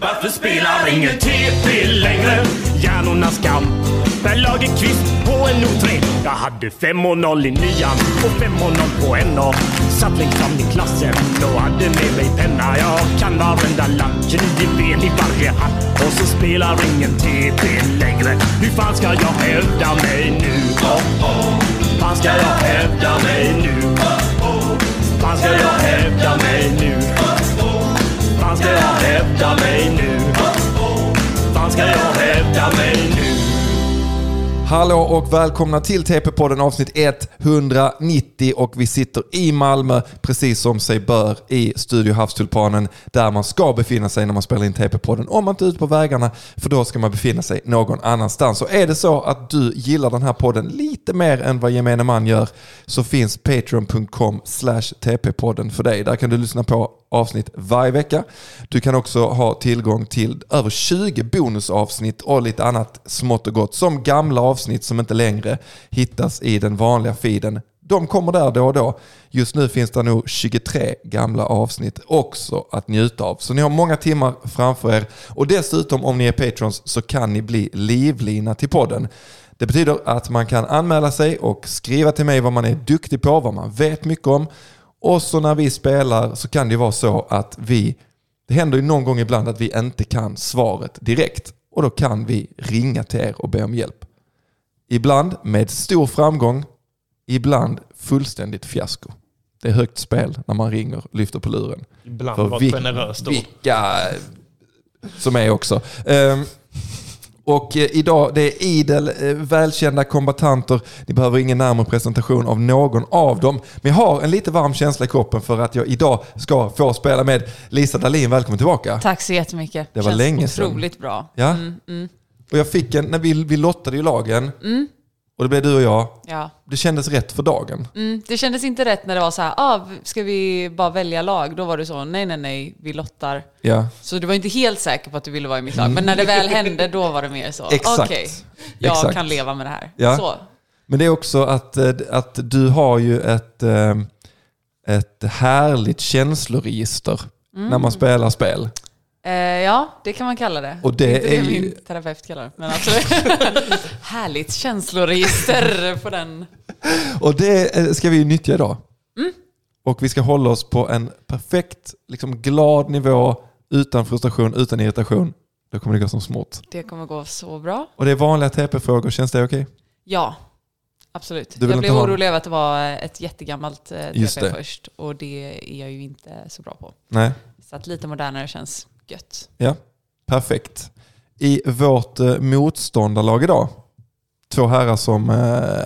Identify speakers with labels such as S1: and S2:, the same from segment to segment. S1: Varför spelar ingen TP längre? Hjärnornas kamp Per Lagerkvist på en O3 Jag hade 5.0 i nian och 5.0 på NA Satt längst fram i klassen och hade med mig penna Jag kan varenda land, nio ben i varje hand Och så spelar ingen TP längre Hur fan ska jag hävda mig nu? Oh, oh. Fan ska jag hävda mig nu? Oh, oh. Fan ska jag hävda mig nu? Oh, oh. Fan ska jag hävda mig nu? Oh, oh. Fan ska jag hävda mig nu?
S2: Hallå och välkomna till TP-podden avsnitt 190 och vi sitter i Malmö precis som sig bör i Studio Havstulpanen där man ska befinna sig när man spelar in TP-podden. Om man inte är ute på vägarna för då ska man befinna sig någon annanstans. Och är det så att du gillar den här podden lite mer än vad gemene man gör så finns patreon.com slash TP-podden för dig. Där kan du lyssna på avsnitt varje vecka. Du kan också ha tillgång till över 20 bonusavsnitt och lite annat smått och gott som gamla avsnitt som inte längre hittas i den vanliga feeden. De kommer där då och då. Just nu finns det nog 23 gamla avsnitt också att njuta av. Så ni har många timmar framför er. Och dessutom om ni är patrons så kan ni bli livlina till podden. Det betyder att man kan anmäla sig och skriva till mig vad man är duktig på, vad man vet mycket om. Och så när vi spelar så kan det ju vara så att vi, det händer ju någon gång ibland att vi inte kan svaret direkt. Och då kan vi ringa till er och be om hjälp. Ibland med stor framgång, ibland fullständigt fiasko. Det är högt spel när man ringer och lyfter på luren.
S3: Ibland
S2: För
S3: var
S2: vi-
S3: ett generöst ord.
S2: Vilka som är också. Ehm, och eh, idag, det är idel eh, välkända kombatanter. Ni behöver ingen närmare presentation av någon av dem. Men jag har en lite varm känsla i kroppen för att jag idag ska få spela med Lisa Dahlin. Välkommen tillbaka.
S4: Tack så jättemycket.
S2: Det var
S4: Känns
S2: länge sedan.
S4: otroligt bra.
S2: Ja? Och jag fick en, när vi, vi lottade ju lagen och det blev du och jag.
S4: Ja.
S2: Det kändes rätt för dagen.
S4: Mm, det kändes inte rätt när det var så här, ah, ska vi bara välja lag? Då var du så, nej, nej, nej, vi lottar.
S2: Ja,
S4: Så du var inte helt säker på att du ville vara i mitt lag, men när det väl hände då var det mer så,
S2: Exakt.
S4: okej, jag
S2: Exakt.
S4: kan leva med det här.
S2: Ja.
S4: Så.
S2: Men det är också att, eh, att du har ju ett, eh, ett härligt känsloregister när
S4: Mm.
S2: man spelar spel.
S4: Eh, ja, det kan man kalla det.
S2: Och det
S4: inte
S2: är
S4: det
S2: ju-
S4: min terapeut kallar det, men absolut. Härligt känsloregister på den.
S2: Och det eh, ska vi ju nyttja idag.
S4: Mm.
S2: Och vi ska hålla oss på en perfekt, liksom glad nivå utan frustration, utan irritation. Då kommer det gå som smort.
S4: Det kommer gå så bra.
S2: Och det är vanliga TP-frågor, känns det okej?
S4: Ja, absolut.
S2: Du vill
S4: jag
S2: inte
S4: blev
S2: ha-
S4: orolig över att det var ett jättegammalt eh,
S2: Just
S4: TP
S2: det.
S4: först och det är jag ju inte så bra på.
S2: Nej?
S4: Så att lite modernare känns gött.
S2: Ja, perfekt. I vårt eh, motståndarlag idag, två herrar som eh,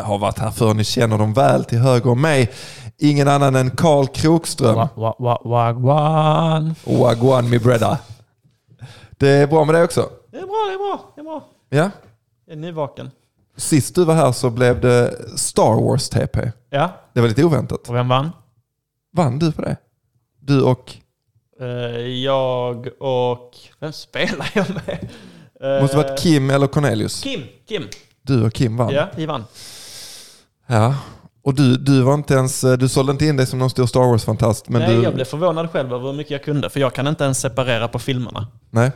S2: har varit här förr, ni känner dem väl till höger om mig. Ingen annan än Karl Krokström.
S3: Wa- wa- wa- Wagwan.
S2: Wagwan mi breda. Det är bra med det också.
S3: Det är bra, det är bra. Det är bra.
S2: Ja.
S3: Jag är nyvaken.
S2: Sist du var här så blev det Star Wars TP.
S3: Ja,
S2: Det var lite oväntat.
S3: och vem vann?
S2: Vann du på det? Du och...
S3: Eh, jag och... Vem spelar jag med? Eh,
S2: måste varit Kim eller Cornelius.
S3: Kim. Kim.
S2: Du och Kim vann.
S3: Ja, vi vann.
S2: Ja. Och du, du var inte ens... eh, Du sålde inte in dig som någon stor Star Wars-fantast. Men
S3: Nej,
S2: du...
S3: jag blev förvånad själv över hur mycket jag kunde, för jag kan inte ens separera på filmerna.
S2: Nej.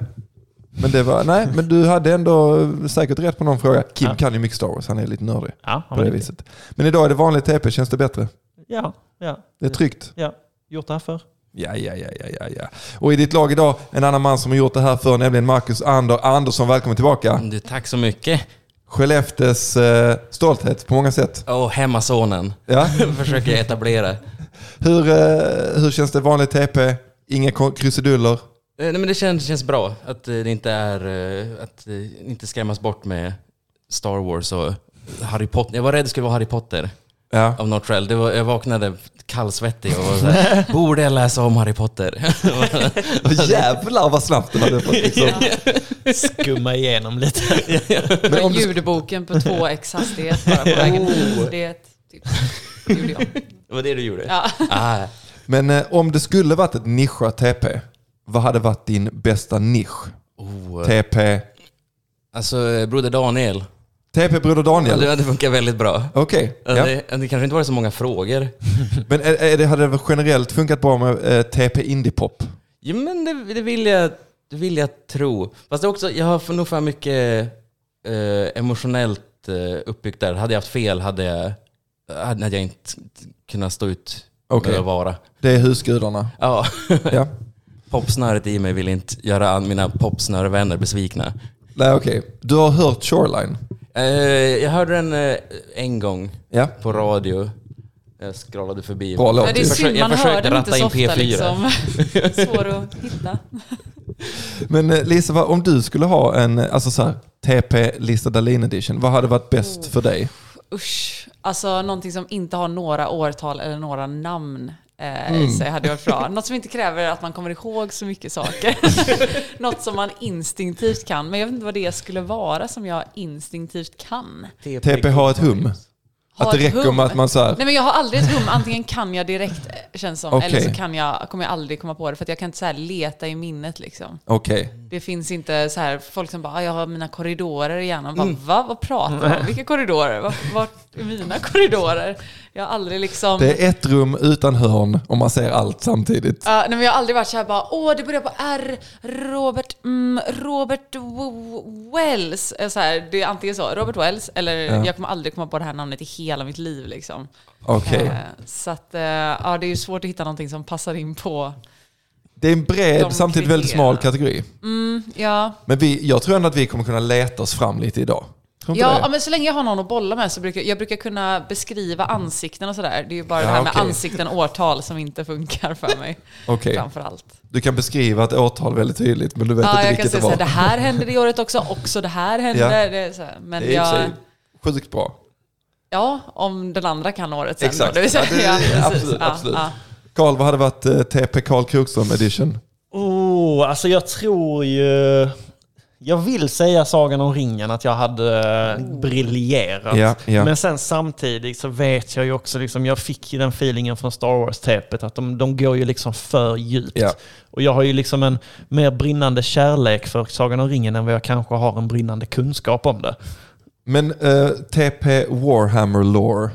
S2: Men, det var, nej, men du hade ändå säkert rätt på någon fråga. Kim
S3: Ja.
S2: kan ju mycket Star Wars, han är lite nördig
S3: Ja, har
S2: på det
S3: vi-
S2: viset. Men idag är det vanlig TP, känns det bättre?
S3: Ja, ja.
S2: Det är tryggt?
S3: Ja, gjort det här förr.
S2: Ja, ja, ja, ja, ja, ja. Och i ditt lag idag, en annan man som har gjort det här förr, nämligen Marcus Ander Andersson. Välkommen tillbaka.
S5: Mm, Du, tack så mycket.
S2: Skellefteås eh, stolthet på många sätt.
S5: Och hemmasonen
S2: Ja.
S5: försöker jag etablera. Eh,
S2: Hur, eh, hur känns det vanligt TP? Inga ko- krusiduller?
S5: Nej, men det känns, känns bra att eh, det inte är eh, att eh, inte skrämmas bort med Star Wars och Harry Potter. Jag var rädd det skulle vara Harry Potter
S2: Ja.
S5: av något skäl. Det var, jag vaknade kallsvettig och var så här, borde jag läsa om Harry Potter?
S2: Och jävlar vad snabbt det hade fått liksom.
S3: Skumma igenom lite.
S2: Men om du- Oh.
S4: Ljudboken på 2x hastighet bara på vägen hit. Det är ett tips. Det gjorde jag.
S5: det var det du gjorde?
S4: Ja.
S5: Ah,
S2: Men eh, om det skulle varit ett nischat TP, vad hade varit din bästa nisch?
S5: oh.
S2: TP?
S5: Alltså, eh, Broder Daniel.
S2: TP Broder
S5: Ja,
S2: Daniel?
S5: det hade funkat väldigt bra.
S2: Okej.
S5: Ja.
S2: ja.
S5: Det, det kanske inte var så många frågor.
S2: Men är, är det, hade det generellt funkat bra med eh, TP eh, Indiepop?
S5: Jo men det, det vill jag Det vill jag tro. Fast det är också, jag har nog för mycket eh, emotionellt eh, uppbyggt där. Hade jag haft fel hade jag, hade jag inte kunnat stå ut
S2: Okej.
S5: med att vara.
S2: Det är husgudarna.
S5: Ja.
S2: Ja.
S5: Popsnöret i mig vill inte göra an- mina popsnörevänner besvikna.
S2: Nej, okej. Du har hört Shoreline?
S5: Eh, jag hörde den eh, en gång
S2: Ja.
S5: på radio. Jag scrollade förbi.
S2: Bra låt.
S4: Ja, det är
S5: Jag försö-
S4: synd,
S5: jag
S4: man hör
S5: försökte
S4: den inte
S5: ratta
S4: så
S5: in
S4: ofta
S5: P4.
S4: liksom. Svår att hitta.
S2: Men eh, Lisa, vad, om du skulle ha en eh, alltså så här, TP Lisa Dahlin edition, vad hade varit bäst för dig?
S4: Usch. Alltså någonting som inte har några årtal eller några namn. Eh,
S2: Mm.
S4: Så hade varit bra. Något som inte kräver att man kommer ihåg så mycket saker. Något som man instinktivt kan. Men jag vet inte vad det skulle vara som jag instinktivt kan.
S2: TP har ett hum.
S4: Mm. Ha
S2: Att det
S4: ett
S2: räcker
S4: hum.
S2: med att man så här,
S4: Nej men jag har aldrig ett hum, antingen kan jag direkt eh, känns som,
S2: Okej.
S4: eller så kan jag, kommer jag aldrig komma på det för att jag kan inte så här leta i minnet liksom.
S2: okej.
S4: Det finns inte så här folk som bara, ah, jag har mina korridorer i hjärnan.
S2: Mm.
S4: Bara, Va? Vad pratar du om? Vilka korridorer? Vart, vart är mina korridorer? Jag har aldrig liksom...
S2: Det är ett rum utan hörn och man ser allt samtidigt.
S4: Ja, nej, men jag har aldrig varit så här bara, åh det börjar på R, Robert, mm, Robert W- Wells. Eh, Så här, det är antingen så, Robert Wells, eller jag kommer aldrig komma på det här namnet i hela mitt liv liksom.
S2: Okej.
S4: Eh, Så att, eh, ja det är ju svårt att hitta någonting som passar in på,
S2: Det är en bred,
S4: de
S2: samtidigt väldigt smal
S4: kriterierna.
S2: kategori.
S4: ja.
S2: Men vi, jag tror ändå att vi kommer kunna leta oss fram lite idag. Tror inte
S4: Ja,
S2: det?
S4: ja, men så länge jag har någon att bolla med så brukar jag brukar kunna beskriva ansikten och sådär. Det är ju bara
S2: Ja,
S4: det här
S2: okej.
S4: med ansikten och årtal som inte funkar för mig.
S2: Okej.
S4: Framför allt.
S2: Du kan beskriva ett årtal väldigt tydligt, men du vet
S4: Ja,
S2: inte
S4: jag kan
S2: vilket det
S4: säga såhär,
S2: var.
S4: det här hände det året också, också det här hände.
S2: Ja.
S4: Det är så här. Men
S2: Det är i och för
S4: jag,
S2: sig sjukt bra.
S4: ja, om den andra kan året sen.
S2: Exakt.
S4: Då, det vill säga,
S2: Ja, det- absolut, absolut. Karl, vad hade varit eh, TP Karl Krokström edition?
S3: Oh, alltså jag tror ju... Jag vill säga Sagan om ringen, att jag hade eh, briljerat.
S2: Ja, ja.
S3: Men sen samtidigt så vet jag ju också, liksom, jag fick ju den feelingen från Star Wars-tepet, att de, de går ju liksom för djupt.
S2: Ja.
S3: Och jag har ju liksom en mer brinnande kärlek för Sagan om ringen än vad jag kanske har en brinnande kunskap om det.
S2: Men eh, TP Warhammer Lore?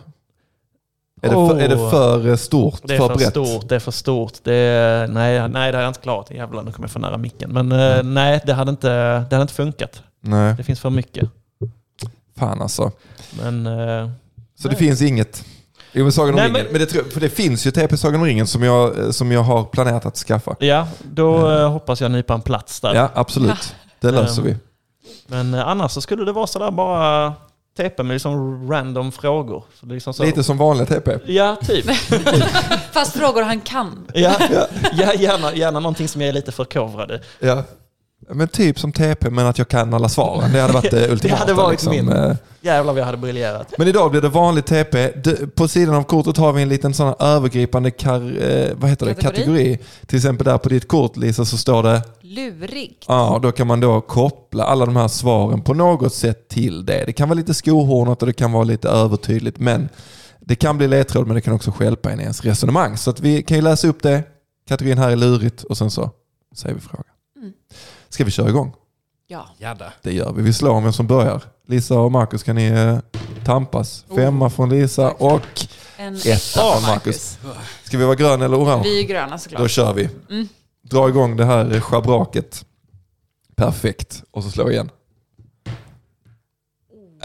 S2: Är, det,
S3: Oh.
S2: för, är det för eh, stort?
S3: Det är för,
S2: brett?
S3: stort, det är för stort. Det är, nej, nej, det hade jag inte klarat. Jävlar, nu kommer jag för nära micken. Men eh,
S2: Mm.
S3: nej, det hade, inte, det hade inte funkat.
S2: Nej,
S3: Det finns för mycket.
S2: fan alltså.
S3: Men... eh,
S2: Så det
S3: Nej.
S2: finns inget? Jo men Sagan om
S3: Nej,
S2: ringen. Men...
S3: men-
S2: det, tror jag- för det finns ju TP Sagan om ringen som jag, eh, som jag har planerat att skaffa.
S3: Ja, då eh, hoppas jag nypa en plats där.
S2: Ja, absolut. Det löser
S3: Ehm.
S2: vi.
S3: Men eh, annars så skulle det vara sådär bara tepa med liksom random frågor. Så det är liksom så.
S2: Lite som vanliga TP.
S3: Ja, typ.
S4: Fast frågor han kan.
S3: Ja, ja gärna, gärna någonting som jag är lite förkovrad i.
S2: Ja. Men typ som TP men att jag kan alla svaren. Det hade varit eh, det ultimata.
S3: hade varit min.
S2: eh.
S3: Jävlar vad jag hade briljerat.
S2: Men idag blir det vanlig TP. D- På sidan av kortet har vi en liten sån här övergripande kar, eh, vad heter det?
S4: Kategori.
S2: kategori. Till exempel där på ditt kort Lisa så står det
S4: Lurigt.
S2: Ja, då kan man då koppla alla de här svaren på något sätt till det. Det kan vara lite skohornat och det kan vara lite övertydligt, men det kan bli ledtråd, men det kan också stjälpa en i ens resonemang. Så att vi kan ju läsa upp det. Kategorin här är lurigt och sen så säger vi frågan. Ska vi köra igång?
S4: Ja.
S5: Jadda.
S2: Det gör vi. Vi slår om vem som börjar. Lisa och Marcus, kan ni eh, tampas? Femma från Lisa och
S4: En
S2: etta från Marcus. Ska vi vara grön eller orange?
S4: Vi är gröna
S2: Då
S4: såklart.
S2: kör vi.
S4: Mm.
S2: Dra igång det här schabraket. Perfekt. Och så slå igen.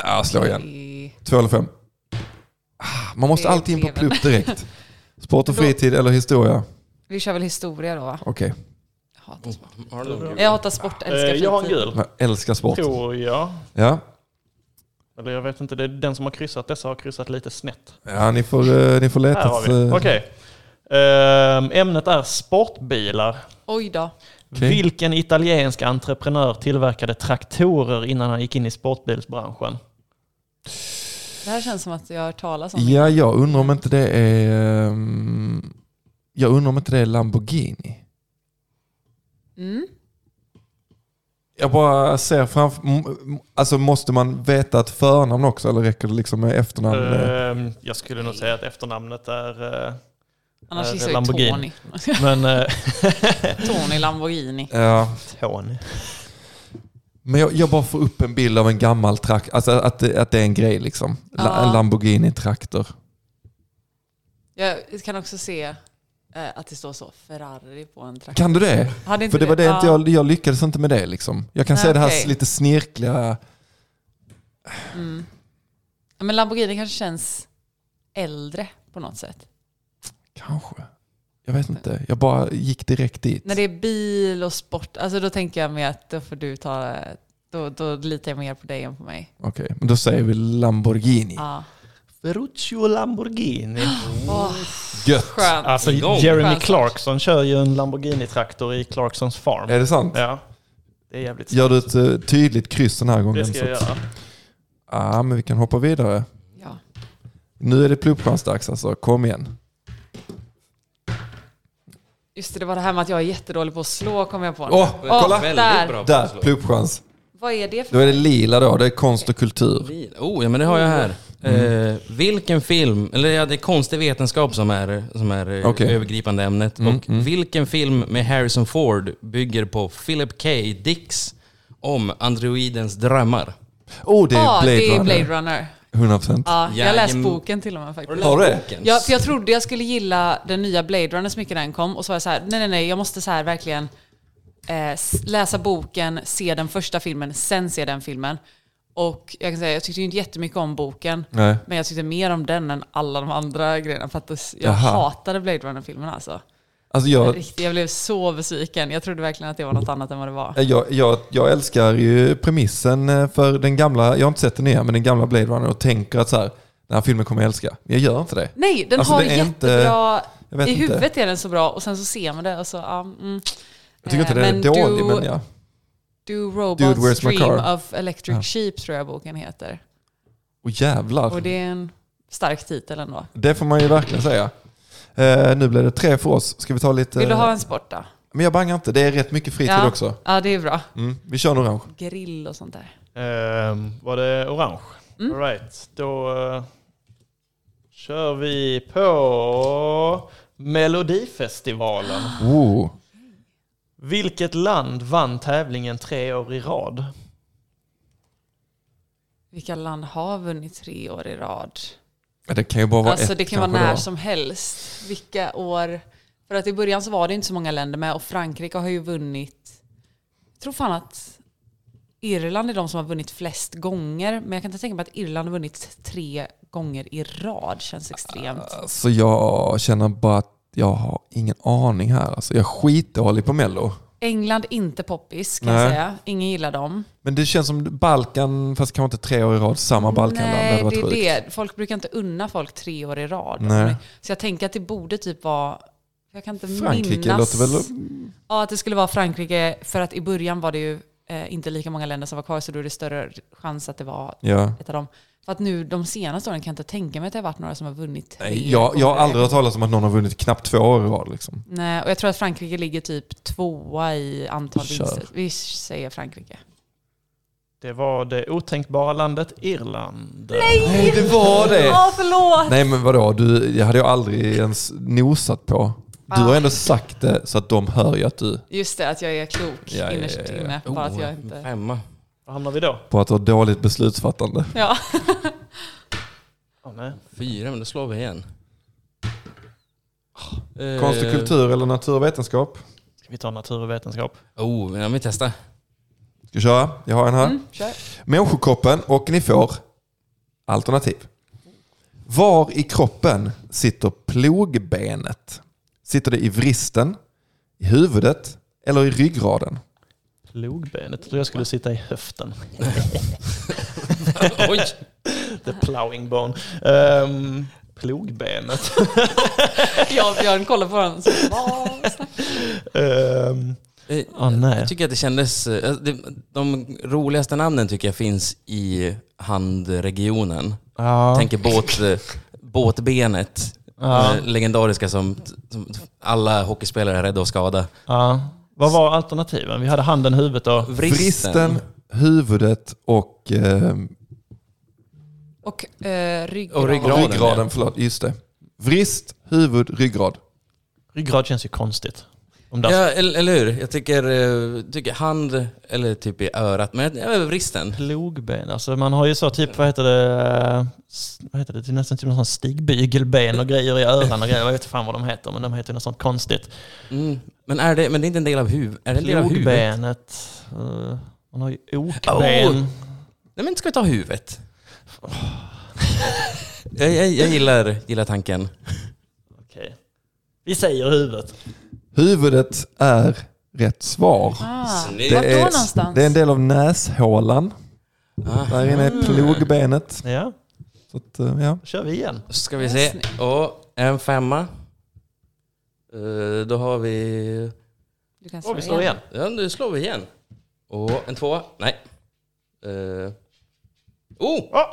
S2: Ja, slå igen. Två eller fem. Ah, Man måste
S4: Det är
S2: alltid in på
S4: dreven.
S2: plupp direkt. Sport och
S4: Då-
S2: fritid eller historia?
S4: Vi kör väl historia då va?
S2: Okej.
S4: Jag hatar sport.
S5: Har du någon?
S4: Jag hatar sport,
S3: Oh, Eh,
S4: älskar
S3: jag har en
S4: fritid.
S3: gul.
S2: Jag älskar sport.
S3: Tror jag.
S2: Ja.
S3: Eller jag vet inte, det är den som har kryssat dessa har kryssat lite snett.
S2: ja, ni får, eh, ni får leta.
S3: Här har vi.
S2: eh,
S3: Okej. Ehm, ämnet är sportbilar.
S4: Oj då.
S2: Okej.
S3: Vilken italiensk entreprenör tillverkade traktorer innan han gick in i sportbilsbranschen?
S4: Det här känns som att jag har hört talas om det.
S2: Ja, jag undrar om inte det är... ehm, Jag undrar om inte det är Lamborghini.
S4: Mm.
S2: Jag bara ser framför... m- m- Alltså måste man veta ett förnamn också eller räcker det liksom med efternamn?
S3: Ehm, jag skulle nog säga att efternamnet är... eh,
S4: Annars
S3: Eh,
S4: gissar jag ju
S3: Lamborghini.
S4: Tony.
S3: Men... eh,
S4: Tony Lamborghini.
S2: Ja.
S3: Tony.
S2: Men jag, jag bara får upp en bild av en gammal traktor, alltså att, det- att det är en grej liksom. La,
S4: Ja.
S2: En Lamborghini-traktor.
S4: Jag kan också se eh, att det står så Ferrari på en traktor.
S2: Kan du det?
S4: Hade inte
S2: För det
S4: du-
S2: var det
S4: Ja.
S2: inte jag, jag lyckades inte med det liksom. Jag kan
S4: Nej,
S2: säga det här
S4: okej.
S2: lite snirkliga.
S4: Mm. Ja, Men Lamborghini kanske känns äldre på något sätt.
S2: Kanske. Jag vet inte. Jag bara gick direkt dit.
S4: När det är bil och sport, alltså då tänker jag mer att då får du ta, då, då litar jag mer på dig än på mig.
S2: Okej, men då säger vi Lamborghini.
S4: Ja.
S3: Ferruccio Lamborghini.
S4: Åh,
S2: Gött!
S4: skönt.
S3: Alltså
S5: Igång.
S3: Jeremy
S4: Skönt.
S3: Clarkson kör ju en Lamborghini-traktor i Clarksons farm.
S2: Är det sant?
S3: Ja, det är jävligt
S2: Gör du ett eh, tydligt kryss den här gången?
S3: Det ska
S2: så
S3: jag
S2: att-
S3: göra.
S2: Ja, men vi kan hoppa vidare.
S4: Ja.
S2: Nu är det plogplansdags alltså. Kom igen.
S4: Just det, det var det här med att jag är jättedålig på att slå kom jag på. nu.
S2: Åh,
S4: Åh,
S2: kolla!
S5: Väldigt
S4: där.
S5: bra på att
S2: Där,
S5: slå.
S2: plogchans.
S4: Vad är det
S2: Då
S4: för...
S2: är det lila då, det är konst och kultur.
S5: Oh, ja men det har jag här.
S2: Mm.
S5: Eh, vilken film, eller ja, det är konstig vetenskap som är, som är eh,
S2: Okej. Mm,
S5: övergripande ämnet. och vilken film med Harrison Ford bygger på Philip K. Dicks om androidens drömmar?
S2: Oh, det är
S4: Ja,
S2: Blade,
S4: Ah, det är Blade
S2: Runner.
S4: Runner.
S2: 100%.
S4: Ja, jag har läst
S5: Jajamän.
S4: boken till och med faktiskt.
S2: Har du det?
S4: Ja, för jag trodde jag skulle gilla den nya Blade Runner så mycket när den kom. Och så var jag så här, nej nej nej, jag måste så här verkligen eh, s- läsa boken, se den första filmen, sen se den filmen. Och jag kan säga, jag tyckte ju inte jättemycket om boken.
S2: Nej.
S4: Men jag tyckte mer om den än alla de andra grejerna. För att det- jag
S2: Jaha.
S4: hatade Blade Runner-filmen alltså.
S2: Alltså jag,
S4: Riktigt, jag blev så besviken. Jag trodde verkligen att det var något annat än vad det var.
S2: jag, jag, jag älskar ju premissen eh, för den gamla, jag har inte sett den nya, men den gamla Blade Runner och tänker att så här, den här filmen kommer jag älska. Jag gör inte det.
S4: Nej, den
S2: Alltså,
S4: har
S2: det är inte-
S4: jättebra...
S2: jag vet
S4: I
S2: inte.
S4: huvudet är den så bra och sen så ser man det och så... ja, mm.
S2: Jag tycker inte
S4: Eh,
S2: det är
S4: men
S2: dålig,
S4: Do-
S2: men ja.
S4: Do
S2: Dude,
S4: Robots
S2: Where's My
S4: Dream
S2: Car?
S4: of Electric Sheep tror jag boken heter.
S2: Och jävlar.
S4: Och det är en stark titel ändå.
S2: Det får man ju verkligen säga. Eh, nu blev det tre för oss. Ska vi ta lite...
S4: Vill du ha en sport då?
S2: Men jag bangar inte, det är rätt mycket fritid
S4: Ja.
S2: också.
S4: Ja, det är bra.
S2: Mm. Vi kör en orange.
S4: Grill och sånt där.
S3: Ehm, var det orange? All right. Då eh, kör vi på Melodifestivalen.
S2: Oh.
S3: Vilket land vann tävlingen tre år i rad?
S4: Vilka land har vunnit tre år i rad?
S2: Ja, Det kan ju bara vara
S4: alltså
S2: ett
S4: det kan vara
S2: kanske
S4: när
S2: då.
S4: som helst. Vilka år? För att i början så var det inte så många länder med och Frankrike har ju vunnit. Jag tror fan att Irland är de som har vunnit flest gånger. Men jag kan inte tänka mig att Irland har vunnit tre gånger i rad. Känns extremt.
S2: Alltså jag känner bara att jag har ingen aning här. Alltså jag är skitdålig på Mello.
S4: England inte poppis kan
S2: Nej.
S4: jag säga. Ingen gillar dem.
S2: Men det känns som Balkan, fast kanske inte tre år i rad, samma Balkanland. det
S4: Nej,
S2: hade varit
S4: det är
S2: sjukt.
S4: det. Folk brukar inte unna folk tre år i rad. Alltså,
S2: Nej.
S4: Så jag tänker att det borde typ vara... Jag kan inte
S2: Frankrike
S4: minnas.
S2: låter väl...
S4: Ja, att det skulle vara Frankrike. För att i början var det ju eh, inte lika många länder som var kvar, så då är det större chans att det var
S2: Ja.
S4: ett av dem. För att nu de senaste åren kan jag inte tänka mig att det har varit några som har vunnit tre
S2: Nej, jag, jag har
S4: gånger.
S2: aldrig hört talas om att någon har vunnit knappt två år i rad. Liksom.
S4: Nej, och jag tror att Frankrike ligger typ tvåa i antal
S2: Kör.
S4: vinster. Vi säger Frankrike.
S3: Det var det otänkbara landet Irland.
S2: Nej, det var det!
S4: Ja, förlåt!
S2: Nej men vadå, du, jag hade jag aldrig ens nosat på. Du har ändå sagt det så att de hör ju att du...
S4: Just det, att jag är klok
S2: Ja, ja, ja,
S4: innerst
S2: ja. Oh.
S4: inne. Bara att jag inte...
S5: Oh, Femma.
S3: Var hamnar vi då?
S2: På att du har dåligt beslutsfattande.
S4: Ja.
S3: Ja, nej.
S5: Fyra, men då slår vi igen. Eh,
S2: Konst och kultur eller naturvetenskap?
S3: Ska vi ta natur och vetenskap?
S5: Oh, men ja, vi testar.
S2: Ska vi köra? Jag har en här.
S4: Kör.
S2: Människokoppen och ni får alternativ. Var i kroppen sitter plogbenet? Sitter det i vristen, i huvudet eller i ryggraden?
S3: Plogbenet. Jag trodde jag skulle sitta i höften.
S5: Oj!
S3: The plowing bone. Ehm, plogbenet.
S4: Jag och Björn kollar på varandra. Så, vad?
S3: Ehm,
S5: Eh,
S3: Åh, nej.
S5: Jag tycker att det kändes... eh, det- De roligaste namnen tycker jag finns i handregionen.
S3: ja.
S5: Tänker båt, eh, båtbenet.
S3: Ja.
S5: Eh, Legendariska som, som alla hockeyspelare är rädda att skada.
S3: ja. Vad var alternativen? Vi hade handen, huvudet och...
S2: Vristen, huvudet och, eh,
S4: Och eh, ryggraden.
S5: Och ryggraden.
S2: ryggraden. ryggraden förlåt, just det. Vrist, huvud, ryggrad.
S3: Ryggrad känns ju konstigt. Om det
S5: Ja, eller, eller hur? Jag tycker, eh, tycker hand eller typ i örat, men jag, jag, vristen.
S3: Plogben, alltså man har ju så typ, vad heter det, S- vad heter det, det är nästan typ någon sån stigbygelben och grejer i öronen och grejer, jag vet inte fan vad de heter, men de heter ju något sånt konstigt.
S5: Mm. Men, är det, men det är inte en del av huvudet? Är det en del av huvudet?
S3: Plogbenet, eh, man har ju okben.
S5: Oh! Nej men ska vi ta huvudet? jag jag, jag gillar, gillar tanken.
S3: Okej. Vi säger huvudet.
S2: Huvudet är rätt svar.
S4: Ah,
S5: Snyggt.
S4: vart då
S2: är,
S4: någonstans?
S2: det är en del av näshålan.
S5: Ah.
S2: Där inne
S3: Mm.
S2: är plogbenet.
S3: Ja,
S2: Så att, eh, ja.
S3: då kör vi igen.
S5: Då ska vi se.
S4: Snyggt.
S5: Och en femma. Eh, Då har vi...
S4: Du kan
S3: Åh, vi
S4: slå
S3: slår
S4: igen.
S3: igen.
S5: Ja, nu slår vi igen. Och en tvåa. Nej. Eh. Oh!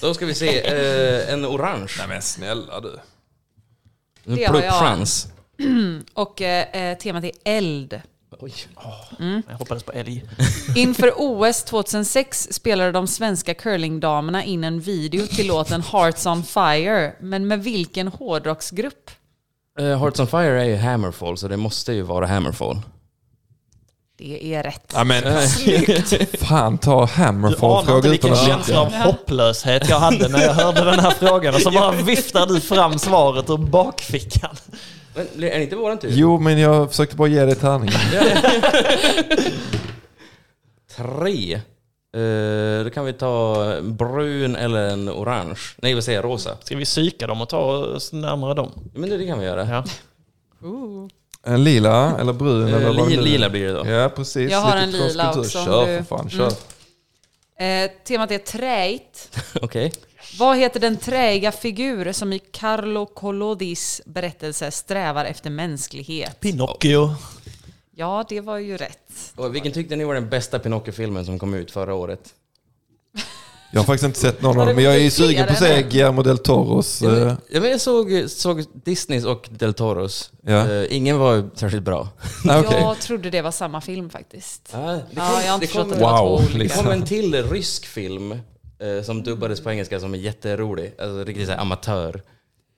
S5: Då ska vi se. eh, en orange. Nej men snälla du. En
S4: Det har jag.
S5: pluppchans.
S4: Och eh, eh, temat är eld.
S5: Oj.
S3: Jag hoppades på älg.
S4: Inför OS 2006 spelade de svenska curlingdamerna in en video till låten Hearts on Fire, men med vilken hårdrocksgrupp?
S5: Eh, Hearts on Fire är ju Hammerfall, så det måste ju vara Hammerfall. Eh,
S4: Det är rätt.
S2: Ja, men, fan ta
S3: Du anar
S2: Hammerfall-fråga
S3: inte
S2: utan
S3: vilken
S2: att
S3: känsla
S2: lycka.
S3: av hopplöshet jag hade när jag hörde den här frågan och så bara viftar du fram svaret ur bakfickan.
S5: Men är det inte våran tur?
S2: Jo, men jag försökte bara ge dig tärningen.
S5: Tre. Eh, då kan vi ta en brun eller en orange. Nej, vad säger jag? Rosa.
S3: Ska vi psyka dem och ta oss närmare dem?
S5: Men det kan vi göra.
S3: Ja.
S4: Ooh.
S2: En lila eller brun
S5: Eh,
S2: eller vad det
S5: li,
S2: nu är.
S5: lila blir det då.
S2: Ja, precis.
S4: Jag har
S2: Lite
S4: en lila
S2: kroppskultur.
S4: också, om
S2: Kör
S4: du- Mm.
S2: för fan, kör.
S4: Eh, temat är träigt.
S5: Okej.
S4: Vad heter den träiga figur som i Carlo Collodis berättelse strävar efter mänsklighet?
S3: Pinocchio.
S4: Ja, det var ju rätt.
S5: Och vilken tyckte ni var den bästa Pinocchio-filmen som kom ut förra året?
S2: Jag har faktiskt inte sett någon av
S4: Har
S2: dem,
S4: du
S2: men jag är ju
S4: fler
S2: sugen på att se
S4: eller?
S2: Guillermo del Toros.
S5: Ja,
S2: eh,
S5: men- ja, men jag såg, såg Disneys och Del Toros.
S2: Ja.
S5: Eh, ingen var särskilt bra. Ah,
S2: ah, okej.
S4: Jag trodde det var samma film faktiskt.
S5: det kom,
S4: Ja, jag har
S5: det
S4: inte liksom. förstått
S5: kom,
S4: att det var
S2: Wow,
S4: två olika.
S5: det kom en till rysk film eh, som dubbades på engelska som är jätterolig. Alltså riktigt så här amatör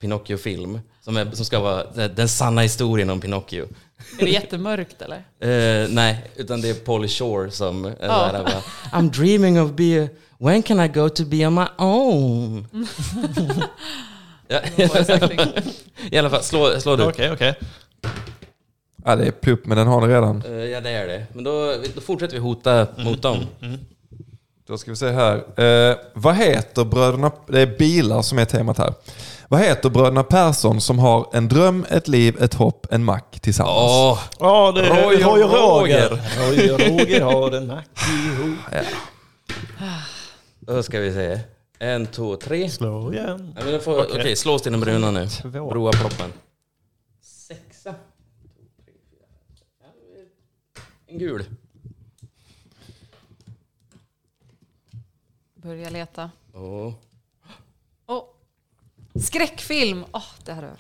S5: Pinocchio-film. Som, är, som ska vara den- den sanna historien om Pinocchio.
S4: Är det jättemörkt eller?
S5: Eh, nej, utan det är Paul Shore som är där och bara, I'm dreaming of be when can I go to be on my own? ja, I alla fall, slå, slå du.
S3: Okej, okej.
S2: Ja, det är plupp, men den har ni redan.
S5: Eh, ja, det är det. Men då, då fortsätter vi hota mot dem.
S2: Då ska vi se här. Eh, vad heter bröderna... Det är bilar som är temat här. Vad heter bröderna Persson som har en dröm, ett liv, ett hopp, en mack tillsammans?
S5: Åh,
S3: Ja, det är
S5: Roy och
S3: Roy och Roger.
S5: Roger.
S3: Roy och Roger har en mack ihop.
S5: då ska vi se. En, två, tre.
S3: Slå igen.
S5: Ja, men då får- Okej,
S3: Okej.
S5: slå oss till den bruna nu.
S3: Två.
S5: Broa proppen. Sexa. En gul.
S4: Börja leta.
S5: Åh.
S4: Åh. Skräckfilm! Åh, det här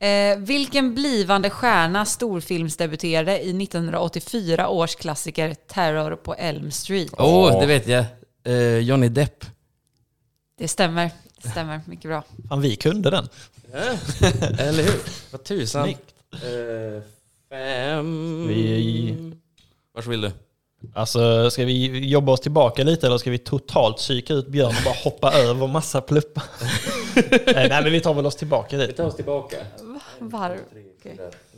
S4: är... eh, vilken blivande stjärna storfilmsdebuterade i 1984 års klassiker Terror på Elm Street?
S5: Åh, det vet jag. Eh, Johnny Depp.
S4: Det stämmer. Det stämmer. Mycket bra.
S3: Fan, vi kunde den.
S5: Eller hur? Vad tusan. Eh, fem...
S3: Vi-
S5: Vars vill du?
S3: Alltså, ska vi jobba oss tillbaka lite eller ska vi totalt psyka ut Björn och bara hoppa över massa pluppar? Eh, Nej, men vi tar väl oss tillbaka
S5: Vi
S3: dit.
S5: tar oss tillbaka.
S4: Varv.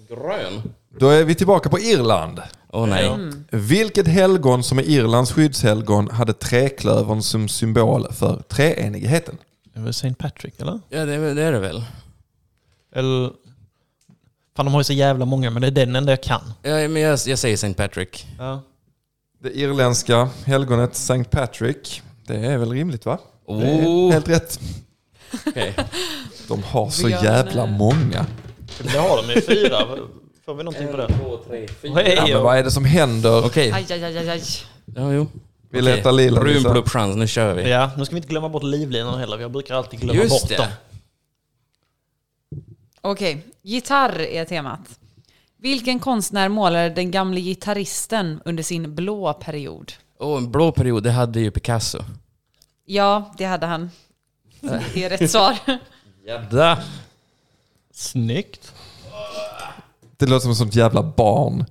S5: Grön.
S2: Då är vi tillbaka på Irland.
S5: Åh nej.
S2: Vilket helgon som är Irlands skyddshelgon hade träklövern som symbol för treenigheten?
S3: Det var Saint Patrick, eller?
S5: Ja, det, det är det väl.
S3: Eller... Fan, de har ju så jävla många, men det är den enda jag kan.
S5: Ja, men jag, jag säger St. Patrick.
S3: Ja.
S2: Det irländska helgonet St. Patrick. Det är väl rimligt va? Det är
S5: Oh,
S2: Helt rätt.
S5: okej.
S2: De har så
S4: Björn,
S2: jävla
S4: eh,
S2: många.
S3: Det har de ju, fyra. Får vi någonting Typ på det?
S5: två, tre, fyra.
S2: Ja,
S3: Hej!
S2: men vad är det som händer?
S5: Okej.
S4: Aj, aj, aj, aj, aj.
S5: Ja, jo.
S2: Vi letar lila.
S5: Brun
S2: Lisa.
S5: pluppchans, nu kör vi.
S3: Ja, nu ska vi inte glömma bort livlinan heller. Jag brukar alltid glömma
S5: Just
S3: bort
S5: det.
S3: dem.
S4: Okej. Gitarr är temat. Vilken konstnär målade den gamle gitarristen under sin blå period?
S5: Åh, en blå period, det hade ju Picasso.
S4: Ja, det hade han. Det är rätt svar.
S5: Jadda.
S3: Snyggt.
S2: Det låter som ett sånt jävla barn.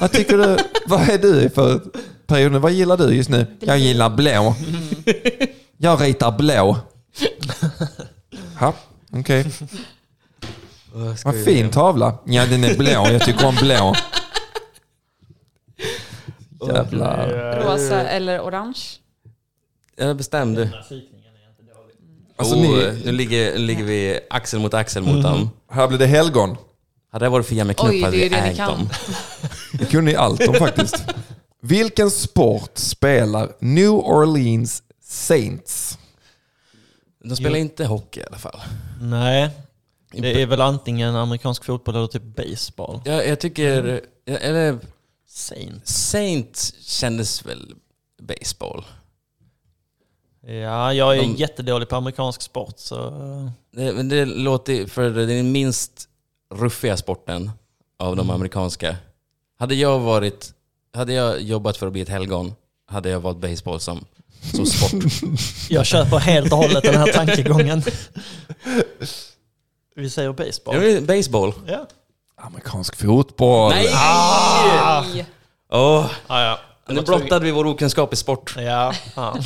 S2: Vad tycker du? Vad är du för perioden? Vad gillar du just nu? Jag gillar blå. Jag ritar blå. Ha, okej.
S5: Vad ska
S2: Vad
S5: vi
S2: fin
S5: göra?
S2: tavla. Ja, den är blå. Jag tycker om blå. Jävla...
S4: Rosa eller orange?
S5: Jag bestämde.
S2: Alltså,
S5: oh,
S2: ni-
S5: Nu ligger, ligger vi axel mot axel mot dem.
S2: Här blir det helgon.
S5: Hade det varit Fia med
S4: Oj,
S5: knuff hade
S4: det
S5: vi
S4: är det ni
S5: ägt
S4: kan.
S5: dem.
S2: Det kunde ni allt om faktiskt. Vilken sport spelar New Orleans Saints?
S5: De spelar inte hockey i alla fall.
S3: Nej, det är väl antingen amerikansk fotboll eller typ baseball.
S5: Jag, jag tycker... Eller
S3: Saints.
S5: Saint kändes väl baseball.
S3: Ja, jag är
S5: De-
S3: jättedålig på amerikansk sport så... eh,
S5: Det, men det låter... För det är den minst ruffiga sporten av de amerikanska. Hade jag varit... Hade jag jobbat för att bli ett helgon hade jag valt baseball som, som sport.
S3: Jag köper helt och hållet den här tankegången. Vi säger
S5: Jag
S3: baseball.
S5: vill- baseball.
S3: Ja.
S2: Amerikansk fotboll.
S5: Nej!
S4: Nej.
S5: Åh,
S3: Ah, ja.
S5: nu blottade vi vår okunskap i sport.
S3: Ja, fan.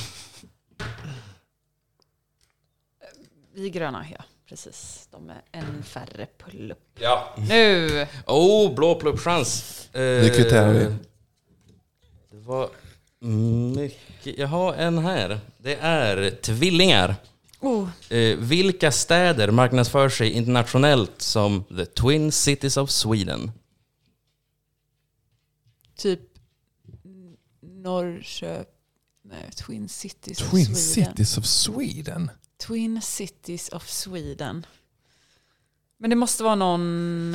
S4: Vi gröna, ja. Precis. De är en färre pull-up.
S5: Ja.
S2: Mm.
S4: Nu!
S5: Oh, Mm. blå pluppchans. Eh,
S2: Nu kvitterar vi.
S5: Det var mycket. Jag har en här. Det är tvillingar.
S4: Oh.
S5: Eh, vilka städer marknadsför sig internationellt som the Twin Cities of Sweden?
S4: Typ N- Norrköping. Nej, Twin Cities
S2: Twin
S4: of Sweden.
S2: Cities of Sweden.
S4: Twin Cities of Sweden. Men det måste vara någon...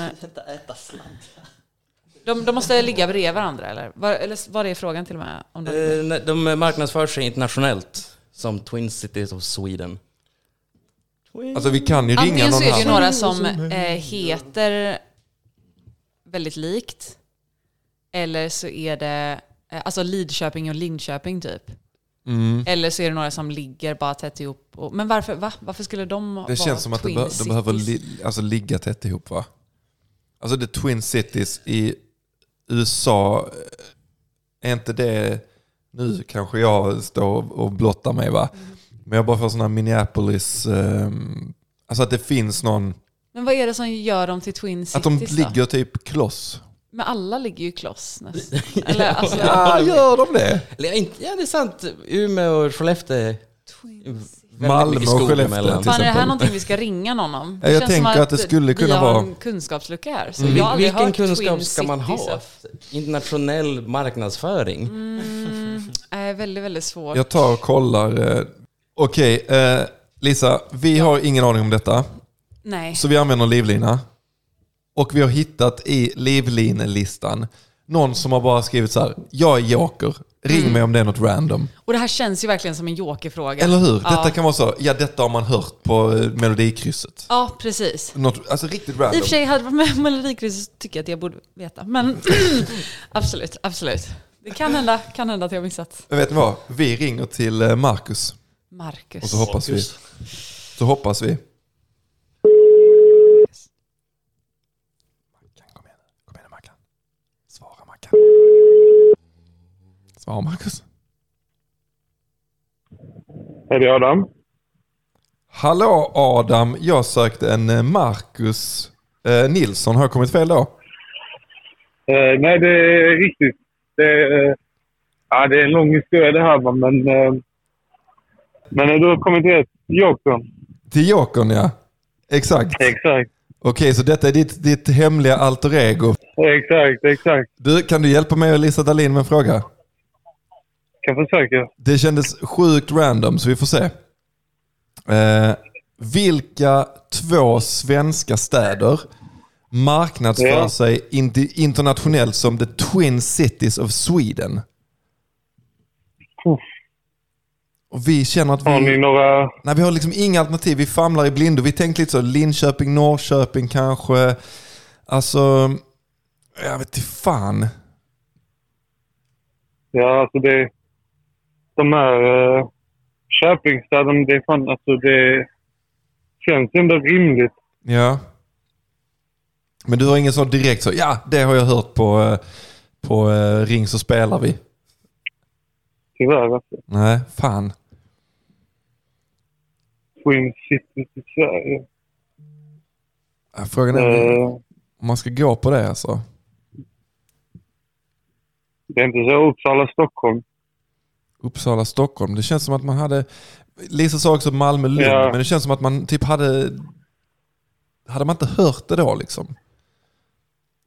S4: De, de måste ligga bredvid varandra eller? Var, eller var det frågan till och med? Om de,
S5: Eh, nej, de marknadsför sig internationellt som Twin Cities of Sweden.
S2: Alltså vi kan ju ringa
S4: Antingen
S2: någon
S4: så är det ju
S2: här.
S4: några som eh, heter väldigt likt. Eller så är det eh, alltså Lidköping och Linköping typ.
S2: Mm,
S4: Eller så är det några som ligger bara tätt ihop. Och, men varför, va? varför skulle de vara
S2: Det känns som att det
S4: Twin
S2: be- de behöver
S4: Cities?
S2: li- alltså, ligga tätt ihop va? Alltså the Twin Cities i USA, eh, är inte det... Nu kanske jag står och blottar mig va? Men jag bara får sådana Minneapolis... ehm, alltså att det finns någon...
S4: Men vad är det som gör dem till Twin Cities
S2: Att de
S4: då?
S2: ligger typ kloss.
S4: Men alla ligger ju kloss nästan. Eller alltså,
S2: Ja, Ah, gör de det?
S5: Eller, inte- Ja, det är sant. Umeå och Skellefteå.
S4: Twin Cities.
S5: Väldigt
S2: Malmö
S5: mycket
S2: och
S5: skog
S2: Skellefteå
S5: emellan.
S2: till
S4: Fan, är det här
S2: exempel.
S4: någonting vi ska ringa någon om?
S2: Ja, jag
S4: känns som
S2: tänker att det skulle kunna
S4: vi har
S2: vara- Mm.
S4: en kunskapslucka här. Så
S5: Vil-
S4: jag har aldrig
S5: vilken
S4: hört
S5: kunskap
S4: Twin
S5: ska man
S4: Cities
S5: ha?
S4: of- Mm.
S5: Internationell marknadsföring.
S4: Nej, Eh, väldigt, väldigt svårt.
S2: Jag tar och kollar. eh. Okej, eh, Lisa. Vi har ingen aning om detta.
S4: Nej.
S2: Så vi använder livlina. Och vi har hittat i livlinelistan någon som har bara skrivit så här. Jag är joker. Ring
S4: Mm.
S2: mig om det är något random.
S4: Och det här känns ju verkligen som en jokerfråga.
S2: Eller hur?
S4: Ja.
S2: Detta kan vara så. Ja, detta har man hört på eh, melodikrysset.
S4: Ja, precis.
S2: Något, alltså riktigt
S4: I
S2: random.
S4: och för sig, hade det varit med Melodikrysset så tycker jag att jag borde veta. Men absolut, absolut. Det kan hända, kan hända att jag missat.
S2: Men vet ni vad? Vi ringer till eh, Marcus.
S4: Marcus.
S2: Och så hoppas vi. Så hoppas vi. Mackan, kom igen nu. Kom igen nu Mackan. Svara Mackan. Svara Marcus.
S6: Är det Adam?
S2: Hallå Adam, jag sökte en eh, Marcus eh, Nilsson. Har jag kommit fel då?
S6: Eh, nej, det är riktigt. Det är, eh, ja, det är en lång historia det här, va, men... Eh, men eh, du har kommit rätt. Jokern.
S2: Till Jokern ja. Exakt. Okej,
S6: Exakt.
S2: så detta är ditt, ditt hemliga alter ego.
S6: Exakt, exakt.
S2: Du, kan du hjälpa mig och Lisa Dahlin med en fråga?
S6: Kan försöka.
S2: Det kändes sjukt random, så vi får se. Eh, vilka två svenska städer marknadsför
S6: Ja.
S2: sig in- internationellt som the Twin Cities of Sweden?
S6: Uff.
S2: Och vi känner att
S6: Har ni
S2: vi,
S6: några...
S2: nej, vi har liksom inga alternativ. Vi famlar i blindo. Vi tänkte lite så, Linköping, Norrköping kanske. Alltså, jag vet inte fan.
S6: Ja, alltså det... De här eh, Köpingstäderna, det är fan... Alltså det känns ändå rimligt.
S2: Ja. Men du har ingen sån direkt så, ja det har jag hört på, eh, på eh, Ring så spelar vi.
S6: Tyvärr alltså.
S2: Nej, fan.
S6: Swing City till Sverige.
S2: Ja, Frågan är
S6: Eh,
S2: om man ska gå på det alltså.
S6: det är inte så Uppsala, Stockholm.
S2: Uppsala, Stockholm. Det känns som att man hade... Lisa sa också Malmö, Lund.
S6: Ja.
S2: Men det känns som att man typ hade... Hade man inte hört det då liksom?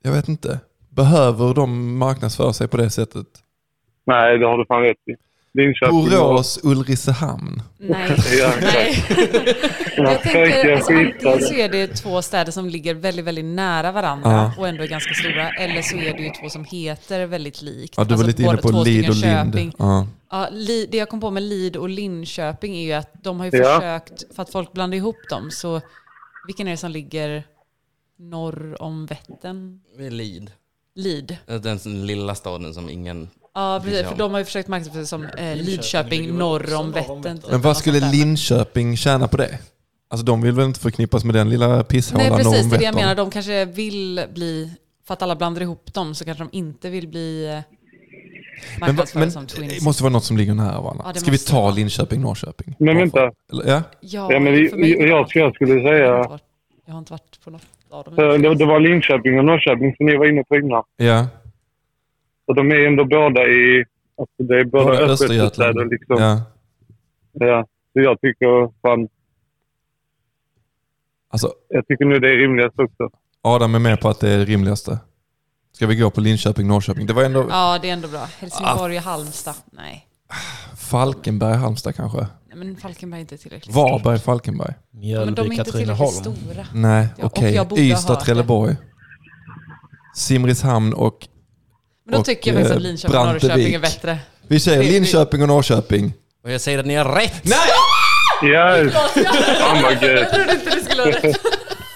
S2: Jag vet inte. Behöver de marknadsföra sig på det sättet?
S6: Nej, det har du fan rätt i. Linköping.
S2: Borås, Ulricehamn.
S4: Nej.
S6: Ja,
S4: Nej. Jag
S6: Jag
S4: tänker, alltså, antingen så
S6: skitstad.
S4: är det två städer som ligger väldigt, väldigt nära varandra
S2: Ja.
S4: och ändå är ganska stora. Eller så är det ju två som heter väldigt likt.
S2: Ja, du var
S4: Alltså,
S2: lite inne
S4: båda
S2: på
S4: två
S2: Lid och
S4: stycken
S2: Lind.
S4: Köping.
S2: Ja.
S4: Ja, Li- det jag kom på med Lid och Linköping är ju att de har ju
S6: Ja.
S4: försökt, för att folk blandar ihop dem, så vilken är det som ligger norr om Vättern?
S5: Lid.
S4: Lid.
S5: Den sån lilla staden som ingen...
S4: Ja, precis.
S5: Ja.
S4: För de har ju försökt marknadsföra sig som eh, Lidköping norr om Vättern. typ,
S2: Men
S4: något
S2: vad skulle
S4: sånt där.
S2: Linköping tjäna på det? Alltså de vill väl inte förknippas med den lilla pisshålan
S4: Nej,
S2: norr
S4: precis.
S2: om
S4: Det är det jag
S2: Vättern?
S4: menar. De kanske vill bli, för att alla blandar ihop dem, så kanske de inte vill bli eh,
S2: Men, va-
S4: marknadsförda
S2: men
S4: som
S2: det
S4: Twins.
S2: måste vara något som ligger nära varandra.
S4: Ja, det
S2: Ska vi
S4: måste
S2: ta
S4: vara.
S2: Linköping, Norrköping?
S6: Men vänta.
S2: Eller- Ja?
S4: Ja,
S6: Ja, men
S4: för mig-
S6: jag, jag, jag skulle
S4: Jag har inte
S6: säga...
S4: varit- jag har inte varit på något av dem.
S6: eh, Det, det var Linköping och Norrköping som ni var inne på innan.
S2: Ja.
S6: Och de är ändå båda i... Alltså det är båda
S2: Bara
S6: östgötastäder
S2: Östergötland.
S6: liksom. Ja.
S2: Ja.
S6: Så jag tycker fan...
S2: Alltså
S6: Jag tycker nu det är rimligast också.
S2: Adam är med på att det är det rimligaste. Ska vi gå på Linköping, Norrköping? Det var ändå
S4: Ja, det är ändå bra. Helsingborg och Halmstad. Nej.
S2: Falkenberg, Halmstad kanske?
S4: Nej, men Falkenberg är inte tillräckligt
S2: Varberg, Falkenberg?
S4: Ja, Men de
S7: Mjölby,
S4: är inte tillräckligt
S7: Katrineholm.
S4: stora.
S2: Nej,
S4: Ja, och
S2: okej.
S4: jag borde ha
S2: Ystad,
S4: hört det.
S2: Trelleborg. Simrishamn och...
S4: Men då
S2: Och,
S4: tycker jag faktiskt
S2: eh,
S4: att Linköping och
S2: Brantevik.
S4: Norrköping är bättre.
S2: Vi säger
S4: Det- det-
S2: Linköping och Norrköping.
S5: Och jag säger att ni har rätt!
S2: Nej!
S6: Ja, fan vad
S4: Jag
S6: gött.
S4: trodde inte du skulle ha rätt.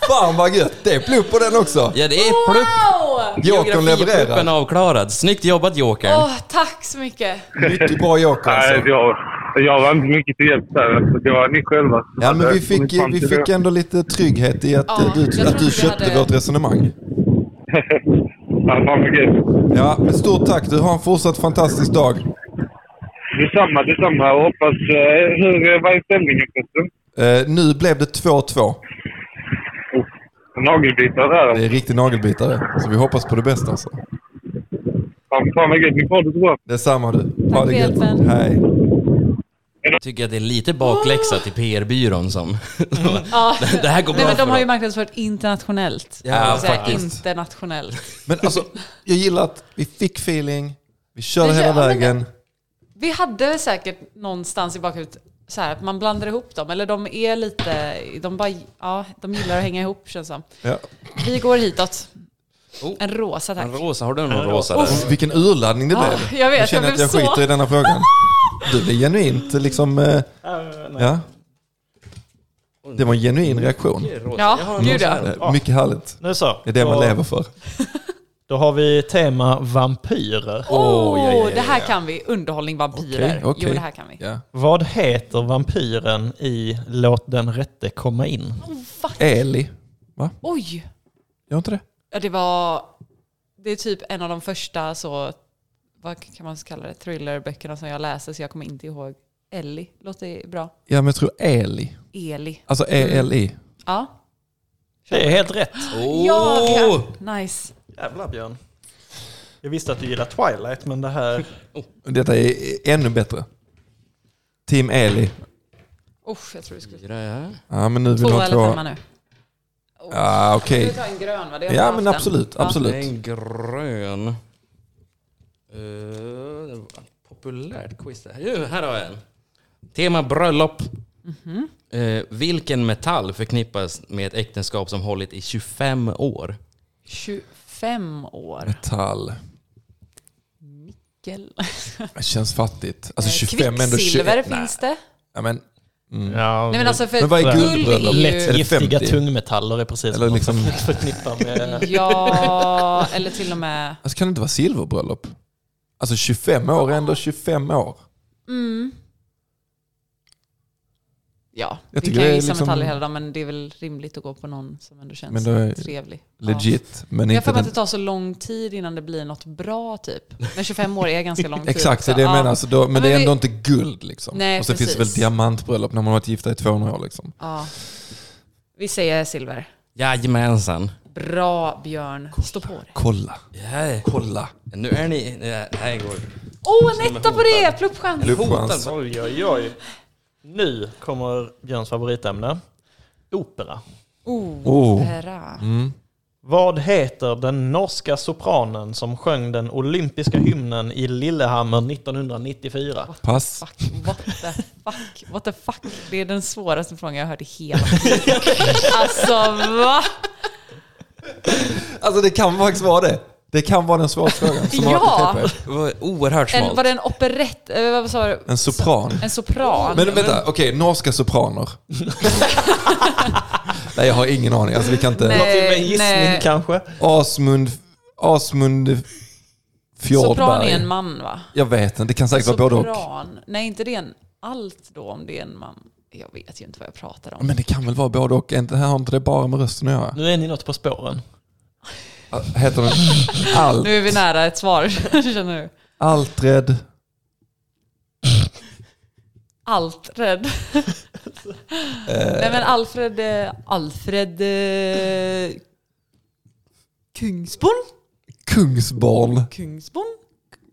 S2: Fan vad gött! Det är plupp på den också!
S5: Ja, det är plupp!
S4: Wow!
S2: Jokern
S5: Geografipluppen
S2: levererar.
S5: avklarad. Snyggt jobbat Jokern.
S4: Åh, tack så mycket.
S2: Mycket bra joker
S6: Nej,
S2: alltså.
S6: jag, jag var inte mycket till hjälp där. Alltså, det var ni själva. som
S2: Ja, men vi
S6: hade kommit
S2: fick,
S6: fram
S2: vi
S6: till
S2: fick
S6: det.
S2: ändå lite trygghet i att
S4: Ja,
S2: eh,
S4: jag
S2: du,
S4: tror
S2: att du
S4: inte vi
S2: köpte
S4: hade-
S2: vårt resonemang.
S6: Ja, fan vad gött.
S2: Ja, men stort tack. Du har en fortsatt fantastisk dag.
S6: Detsamma, detsamma. Och hoppas... eh, Hur eh, vad är ställningen förresten?
S2: Eh, nu blev det 2-2.
S6: Nagelbitar där.
S2: Det
S6: alltså.
S2: är riktig nagelbitare. Så vi hoppas på det bästa alltså.
S6: Fan, fan vad gött. Ni podd är så bra.
S2: Detsamma du.
S4: Tack
S2: Ha
S4: för
S2: det gött.
S4: hjälpen.
S2: Hej.
S5: Tycker att det är lite bakläxa till PR-byrån som...
S4: Ja.
S5: det här går bra
S4: Nej, men
S5: för
S4: de har ju
S5: dem.
S4: marknadsfört internationellt.
S5: Ja,
S4: Jag vill säga,
S5: faktiskt.
S4: Internationellt.
S2: Men alltså, jag gillar att vi fick feeling. Vi körde
S4: Vi kör-
S2: hela
S4: ja, men-
S2: vägen.
S4: Vi hade säkert någonstans i bakhuvudet så här, att man blandar ihop dem. Eller de är lite, de bara, ja, de gillar att hänga ihop känns det som.
S2: Ja.
S4: Vi går hitåt.
S5: Oh.
S4: En rosa tack.
S5: En rosa, har du någon rosa där?
S2: Vilken urladdning det
S4: Ja,
S2: blev.
S4: jag vet,
S2: jag känner
S4: jag
S2: att jag
S4: blev så-
S2: skiter i denna frågan. Du är genuint liksom... eh, Ja. Det var en genuin reaktion.
S4: Ja, gud ja.
S2: Eh, Mycket härligt.
S3: Nu så.
S2: Det är det man
S3: Då-
S2: lever för.
S3: Då har vi tema vampyrer.
S4: Åh, det här kan vi. Underhållning vampyrer.
S2: Okej, okej.
S4: Jo, det här kan vi.
S2: Ja.
S3: Vad heter vampyren i Låt den rätte komma in?
S2: Eli. Va?
S4: Oj!
S2: Gör inte det?
S4: Ja, det var... Det är typ en av de första så... Vad kan man kalla det? Thrillerböckerna som jag läste, så jag kommer inte ihåg. Ellie, låter bra.
S2: Ja, men jag tror Eli.
S4: Eli.
S2: Alltså E-L-I.
S4: Ja.
S3: Det är helt rätt.
S4: Ja,
S5: Åh!
S4: ja. Nice.
S3: Jävlar Björn. Jag visste att du gillar Twilight, men det här...
S2: Mm. Detta är ännu bättre. Team Eli.
S4: Usch, jag tror vi skulle...
S5: Ja, ja.
S2: Ja, men nu vill du
S4: Två
S2: ha
S4: eller
S2: två.
S4: femma nu.
S2: Ja, okej.
S4: Vi tar en grön va? Det har jag
S2: Ja,
S4: haft
S2: men
S4: den.
S2: absolut.
S5: Det
S2: Absolut.
S5: är en grön. Eh, det var ett populärt quiz det här. Jo, här har jag en. Tema bröllop.
S4: Mhm.
S5: Eh, vilken metall förknippas med ett äktenskap som hållit i 25 år?
S4: 25 år.
S2: Metall.
S4: Gel.
S2: Det känns fattigt. Alltså
S4: Eh,
S2: 25 ändå 21.
S4: Kvicksilver
S2: Nej.
S4: finns det.
S2: Ja, men,
S3: Ja,
S4: Nej men alltså för
S2: Men vad är
S4: guld
S2: guldbröllop?
S4: är
S3: Lätt
S4: ju...
S3: giftiga
S2: 50?
S3: tungmetaller är precis
S2: Eller
S3: vad
S2: liksom-
S3: man förknippar med...
S4: Ja, eller till och med...
S2: alltså, kan det inte vara silverbröllop? Alltså
S4: Mm.
S2: 25 år är ändå 25 år.
S4: Ja,
S2: Jag
S4: vi
S2: tycker
S4: kan ju
S2: det är
S4: gissa
S2: liksom-
S4: metaller hela dagen men det är väl rimligt att gå på någon som ändå känns
S2: Men då är-
S4: trevlig. Ja.
S2: Legit, men
S4: Jag har för
S2: inte
S4: mig
S2: den.
S4: att det tar så lång tid innan det blir något bra typ. Men 25 år är ganska lång tid.
S2: Exakt, det är
S4: också.
S2: det jag
S4: Ja.
S2: menar. Så då, men,
S4: men
S2: det är
S4: vi-
S2: ändå inte guld liksom.
S4: Nej,
S2: och så finns det väl
S4: precis.
S2: diamantbröllop när man har varit gifta i 200 år liksom.
S4: Ja. Vi säger silver.
S5: Jajamensan.
S4: Bra Björn, stå på dig.
S2: Kolla,
S5: Yeah.
S2: kolla.
S5: Nu är ni... Ja, här går
S4: Åh, oh, en etta på det! Pluppchans.
S2: Pluppchans.
S3: Oj, oj, oj. Nu kommer Björns favoritämne. Opera.
S4: Oh,
S2: Oh.
S4: Opera.
S2: Mm.
S3: Vad heter den norska sopranen som sjöng den olympiska hymnen i Lillehammer 1994?
S2: Pass.
S4: Fuck, what the fuck, what the fuck. Det är den svåraste frågan jag har hört i hela tiden. Alltså va?
S2: Alltså det kan faktiskt vara det. Det kan vara den svåraste frågan som har
S4: Ja.
S2: varit på TP.
S5: det var oerhört
S4: En, var
S5: smalt.
S4: det en operett? eh, Vad sa du?
S2: En sopran.
S4: En sopran?
S2: Men vänta, okej, norska sopraner. Nej, jag har ingen aning. Alltså vi kan inte...
S4: Nej,
S3: Till och med en gissning
S4: nej.
S3: kanske?
S2: Asmund... Asmund...
S4: Sopran är en
S2: Fjordberg.
S4: man va?
S2: Jag vet inte, det kan säkert vara
S4: Alltså,
S2: både och.
S4: Sopran. Nej, inte det är en allt då om det är en man. Jag vet ju inte vad jag pratar om.
S2: Men det kan väl vara både och? Är inte- Här har inte det bara med rösten att göra?
S3: Nu är ni något på spåren.
S2: Heter den Al,
S4: Nu är vi nära ett svar, känner du?
S2: Altred?
S4: Altred.
S2: Eh.
S4: Nej men Alfred, eh, Alfred eh, Kungsborn?
S2: Kungsborn?
S4: Kungsborn?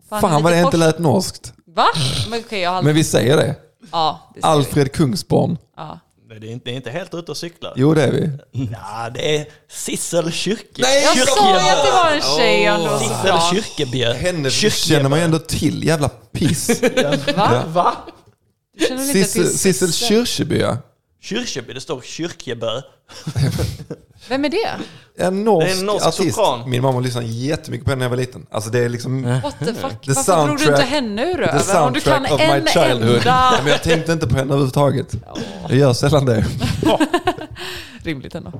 S2: Fan vad det
S4: lite
S2: inte
S4: kors-
S2: lät norskt.
S4: Va? Men okej, jag har aldrig...
S2: Men vi säger det.
S4: Ja, det ser vi.
S2: Alfred Kungsborn.
S4: Ja.
S3: Nej, det är inte, det är inte helt ute och cyklar.
S2: Jo det är vi.
S3: Ja, det är Sissel Kyrke.
S2: Nej,
S4: Jag
S2: Kyrkjebø!
S4: sa ju att det var en tjej ändå.
S3: Sissel
S4: Oh,
S3: Kyrkjebø.
S2: Henne
S3: Kyrkjebø.
S2: känner man ju ändå till. Jävla piss.
S4: Va?
S3: Va?
S4: Du känner väl inte
S2: Sissel-
S4: till
S2: Sissel Kyrkjeby ja.
S3: Kyrkjebø, det står Kyrkjebø.
S4: Vem är det?
S2: En norsk,
S3: Det är en norsk
S2: artist.
S3: sopran.
S2: Min mamma lyssnade jättemycket på henne när jag var liten. Alltså det är liksom...
S4: What the fuck?
S2: The
S4: Varför drog du inte
S2: soundtrack-
S4: henne ur
S2: The
S4: röven? Om du kan
S2: soundtrack of
S4: en
S2: my childhood.
S4: enda...
S2: Men jag tänkte inte på henne överhuvudtaget. Jag gör sällan det.
S4: Rimligt ändå.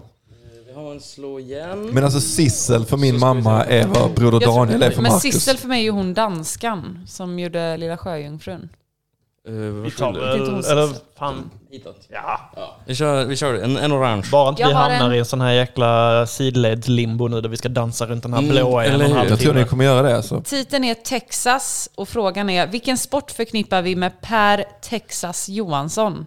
S5: Vi har en slå igen.
S2: Men alltså Sissel för min mamma är vad Broder
S4: Jag tror-
S2: Daniel är för
S4: Men
S2: Marcus.
S4: Sissel för mig är ju hon danskan som gjorde Lilla Sjöjungfrun.
S5: eh,
S3: Vi tar
S4: Inte hon
S3: väl...
S4: Sissel.
S3: Eller fan,
S5: Hitåt.
S3: ja.
S5: Vi kör, vi kör en, en orange.
S3: Bara inte
S4: Jag
S3: vi
S4: har
S3: hamnar
S4: en-
S3: i en sån här jäkla sidledslimbo nu där vi ska dansa runt den här
S5: Mm,
S3: blåa i en
S5: eller
S3: och en
S5: hur?
S3: halv
S2: Jag tror ni
S3: timme.
S2: kommer göra det alltså.
S4: Titeln är Texas och frågan är vilken sport förknippar vi med Per Texas Johansson?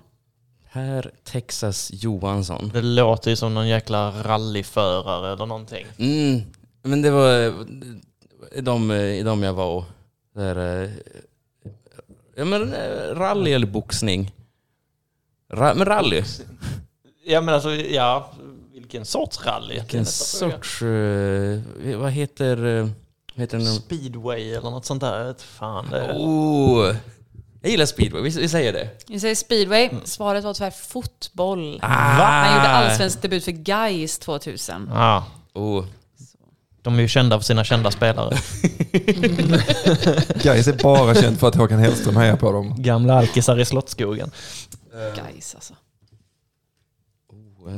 S5: Per Texas Johansson.
S3: Det låter ju som någon jäkla rallyförare eller någonting.
S5: Mm, men det var eh, de, eh, de jag var och... Där, eh, ja, men, eh, rally eller boxning? Ra, men rally.
S3: Ja men alltså, ja. Vilken sorts rally? Typ Det är
S5: Vilken
S3: nästa fråga.
S5: sorts... eh, vad heter... eh, Vad heter den?
S3: Speedway eller något sånt där. Jag vet Fan, det är...
S5: Oh, jag gillar speedway, vi, vi säger det.
S4: Vi säger speedway.
S2: Mm.
S4: Svaret var tyvärr fotboll.
S5: Ah.
S4: Han gjorde allsvensk debut för Gais 2000.
S3: Ja,
S5: Oh.
S3: de är ju kända för sina kända spelare.
S2: Gais är bara känd för att Håkan Hellström hejar på dem.
S3: Gamla alkisar i Slottsskogen.
S4: Gais alltså.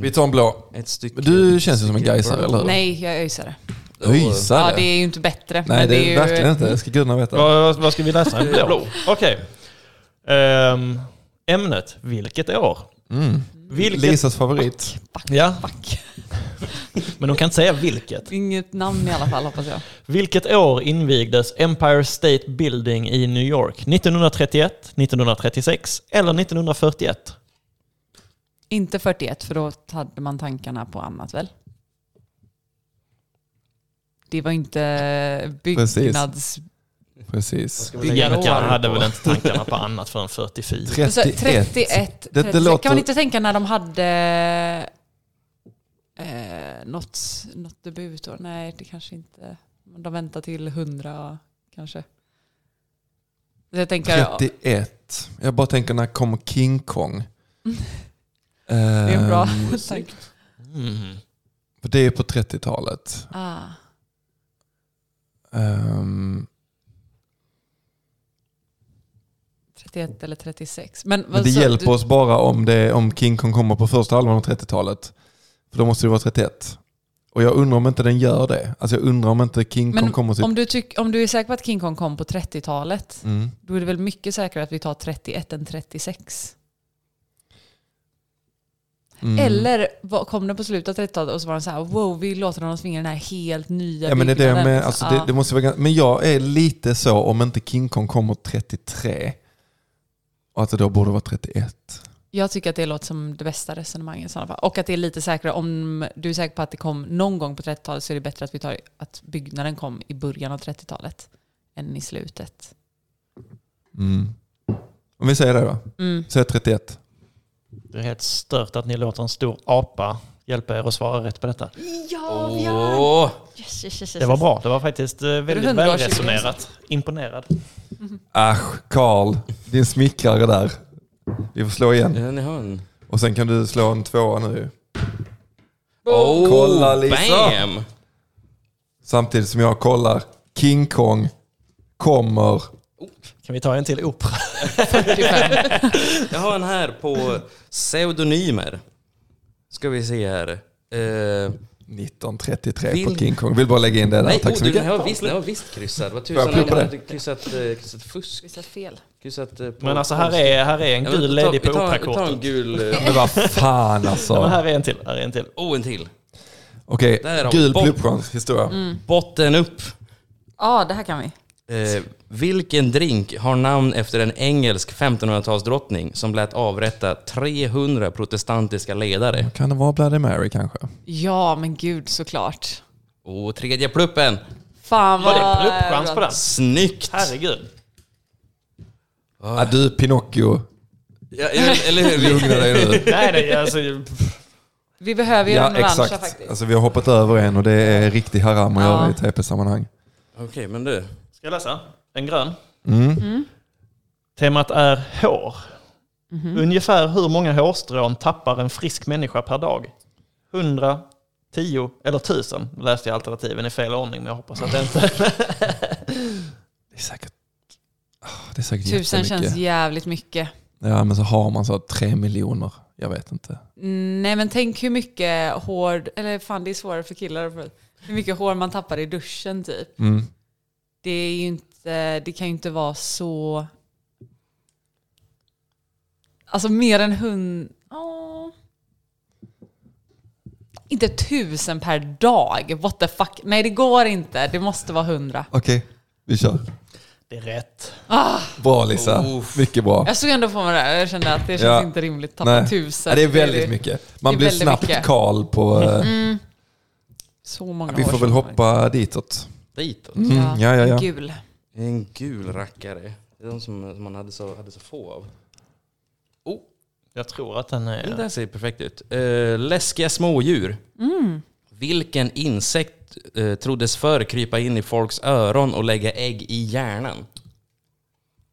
S2: Vi tar en blå.
S5: Ett stycke.
S2: Men Du känns ju som en Gaisare, eller hur?
S4: Nej, jag är öisare. Ja,
S2: Öisare?
S4: det är ju inte bättre.
S2: Nej,
S4: men
S2: det är
S4: ju...
S2: verkligen inte. Det ska gudarna veta.
S3: Vad, vad- vad ska vi läsa? En blå? Okej. Ehm, ämnet, vilket år?
S5: Mm.
S3: Vilket...
S2: Lisas favorit.
S3: Ja,
S4: Fuck.
S3: men de kan inte säga vilket.
S4: Inget namn i alla fall hoppas jag.
S3: Vilket år invigdes Empire State Building i New York? 1931, 1936 eller 1941?
S4: Inte 41 för då hade man tankarna på annat väl? Det var inte byggnads...
S2: Precis.
S3: Jänkarna hade väl inte tankarna på annat förrän 44.
S4: Så
S2: 31.
S4: 31.
S2: Det, det
S4: 36.
S2: låter...
S4: Kan man inte tänka när de hade eh, något, något debutår? Nej, det kanske inte... De väntar till 100 kanske. Så Jag tänker, ja,
S2: 31. Jag bara tänker, när kom King Kong? det
S4: det är en bra tanke.
S3: Mm.
S2: Det är på 30-talet.
S4: Ah,
S2: Ehm,
S4: 31 eller 36. Men,
S2: men det
S4: så-
S2: hjälper
S4: du-
S2: oss bara om, det, om King Kong kommer på första halvan av 30-talet. För då måste det vara 31. Och jag undrar om inte den gör det. Alltså jag undrar om inte King Kong
S4: Men
S2: kommer till...
S4: om du, tyck, om du är säker på att King Kong kom på 30-talet,
S2: Mm.
S4: då är det väl mycket säkrare att vi tar 31 än 36?
S2: Mm.
S4: Eller var, kom den på slutet av 30-talet och så var den så här, wow, vi låter honom svinga den här helt nya
S2: Ja, men det, är det,
S4: byggnaden.
S2: med, alltså, det,
S4: Ja.
S2: det måste vara, gans- men jag är lite så, om inte King Kong kommer 33, och att det då borde vara 31.
S4: Jag tycker att det låter som det bästa resonemanget i sådana fall. Och att det är lite säkrare. Om du är säker på att det kom någon gång på 30-talet så är det bättre att vi tar att byggnaden kom i början av 30-talet än i slutet.
S2: Mm. Om vi säger det då. Säg 31.
S3: Det är helt stört att ni låter en stor apa hjälpa er att svara rätt på detta.
S4: Ja,
S5: Åh!
S3: Det var bra. Det var faktiskt eh, väldigt
S4: hundra år
S3: välresonerat. Imponerad.
S2: Asch, Karl, din smickrare där. Vi får slå igen.
S5: Ja, ni hör den.
S2: Och sen kan du slå en tvåa nu ju.
S5: Oh,
S2: Kolla, Lisa.
S5: Bam!
S2: Samtidigt som jag kollar, King Kong kommer...
S3: Kan vi ta en till opera?
S5: Jag har en här på pseudonymer. Ska vi se här. Eh,
S2: 1933 på
S5: Vill-
S2: King Kong. Vill bara lägga in det där.
S5: nej,
S2: Tack
S5: oh,
S2: så
S5: du, den
S2: mycket.
S5: här var visst, den här var visst kryssad. Vad
S2: jag
S5: tusan, den
S2: plocka
S5: har
S2: det?
S5: inte kryssat, eh, kryssat fusk.
S4: Visst är det fel?
S5: Kryssat, eh, på
S3: Men alltså här är, här är en
S5: Ja, men
S3: gul
S5: ta-
S3: ledig på
S5: vi tar- Vi tar en
S3: operakortet.
S5: gul... eh,
S2: Men vad fan alltså.
S3: Ja, men här är en till. Här är en till.
S5: Oh, en till.
S2: Okej,
S5: Där har vi
S2: gul
S5: bomb. Mm.
S2: pluppchans historia.
S5: Botten upp.
S4: Ja, det här kan vi.
S5: Eh, vilken drink har namn efter en engelsk 1500-talsdrottning som lät avrätta 300 protestantiska ledare?
S2: Kan det vara Bloody Mary kanske?
S4: Ja, men gud såklart.
S5: Och Oh, tredje pluppen!
S4: Fan
S3: Var
S4: vad...
S3: det en pluppchans på den?
S5: Snyggt!
S3: Herregud.
S2: Ah, du Pinocchio,
S5: Ja, eller, eller hur? Vi-
S2: lugna dig nu.
S3: Nej, nej, alltså...
S4: Vi behöver ju
S2: ja
S4: den orangea
S2: exakt.
S4: faktiskt.
S2: Alltså, vi har hoppat över en och det är riktig haram att
S4: Ja.
S2: göra i TP-sammanhang.
S5: Okej, men du.
S3: Ska jag läsa? En grön. Temat är hår.
S4: Mhm.
S3: Ungefär hur många hårstrån tappar en frisk människa per dag? 100, 10 eller 1000? Nu läste jag alternativen i fel ordning, men jag hoppas att det inte...
S2: Det är säkert, ah, det är säkert
S4: Tusen känns
S2: jättemycket.
S4: jävligt mycket.
S2: Ja, men så har man så här tre miljoner. Jag vet inte.
S4: Nej men tänk hur mycket hår, eller fan det är svårare för killar, att få- hur mycket hår man tappar i duschen typ.
S2: Mm.
S4: Det, är ju inte, det kan ju inte vara så... Alltså mer än hund... Åh. Inte tusen per dag, what the fuck. Nej det går inte, det måste vara hundra.
S2: Okej, vi kör.
S3: Det är rätt.
S2: Bra Lisa, mycket bra.
S4: Jag såg ändå på mig det här, jag kände att det känns
S2: Ja.
S4: inte rimligt att tappa
S2: Nej.
S4: tusen.
S2: Ja, det är väldigt mycket. Man
S4: det är
S2: blir
S4: väldigt
S2: snabbt
S4: mycket. Mm.
S2: Karl på... eh,
S4: Så många
S2: Vi
S4: hår
S2: får
S4: som
S2: väl
S4: kommer.
S2: hoppa ditåt.
S5: Ditåt.
S2: Mm, ja, ja, ja.
S4: Gul.
S5: En gul rackare. Det är de som, som man hade så, hade så få av. Oh,
S3: Jag tror att den
S5: den
S3: är...
S5: där ser perfekt ut. Eh, läskiga smådjur.
S4: Mm.
S5: Vilken insekt eh, troddes förr krypa in i folks öron och lägga ägg i hjärnan?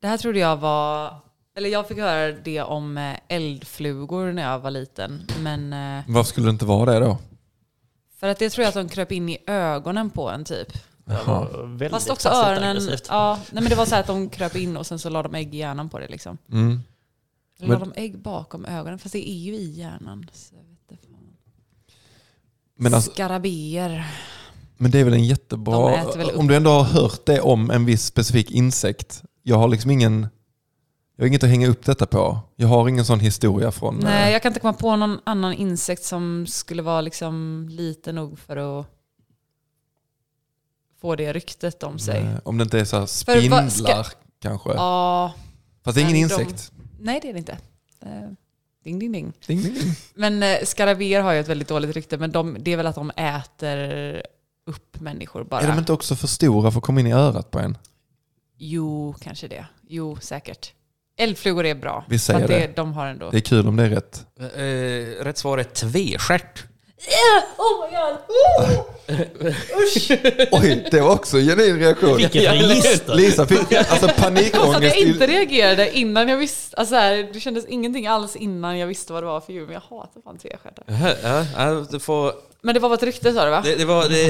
S4: Det här trodde jag var... Eller jag fick höra det om eh, eldflugor när jag var liten. Men eh,
S2: Varför skulle det inte vara det då?
S4: för att det tror jag att de kröp in i ögonen på en typ.
S3: Det var väldigt
S4: Fast också
S3: passivt
S4: öronen.
S3: aggressivt.
S4: Ja, nej men det var så här att de kröp in och sen så la de ägg i hjärnan på det liksom.
S2: Mm.
S4: Eller la de ägg bakom ögonen? Fast det är ju i hjärnan. Så jag vet inte fan.
S2: Men, alltså,
S4: Skarabéer.
S2: men det är väl en
S4: De
S2: jättebra...
S4: äter väl upp-
S2: Om du ändå har hört det om en viss specifik insekt. Jag har liksom ingen... Jag har inget att hänga upp detta på. Jag har ingen sån historia från... eh,
S4: Nej, jag kan inte komma på någon annan insekt som skulle vara liksom liten nog för att få det ryktet om sig.
S2: eh, om det inte är så här
S4: vad ska-
S2: spindlar kanske.
S4: Ja,
S2: Fast det är ingen
S4: Nej, de-
S2: insekt.
S4: nej det är det inte. Eh, Ding ding ding.
S2: Ding, ding, ding.
S4: Men eh, skarabéer har ju ett väldigt dåligt rykte, men de, det är väl att de äter upp människor bara.
S2: Är de inte också för stora för att komma in i örat på en?
S4: Jo, kanske det. Jo, säkert. Eldflugor är bra.
S2: Vi säger
S4: För att
S2: det.
S4: De har ändå...
S2: Det är kul om det är rätt.
S5: Eh, rätt svar är tvestjärt.
S4: Oh my god!
S2: Oj, det var också en genuin reaktion.
S3: Vilket register!
S2: Lisa fick alltså,
S4: Alltså att
S2: panikångest.
S4: jag
S2: i-
S4: inte reagerade innan jag visste. Alltså så här, det kändes ingenting alls innan jag visste vad det var för djur, men jag hatar fan trestjärtar.
S2: Mm.
S5: Jaha, Ja, ja, du får,
S4: Men det var bara ett rykte sa du va?
S5: det, det, var, det,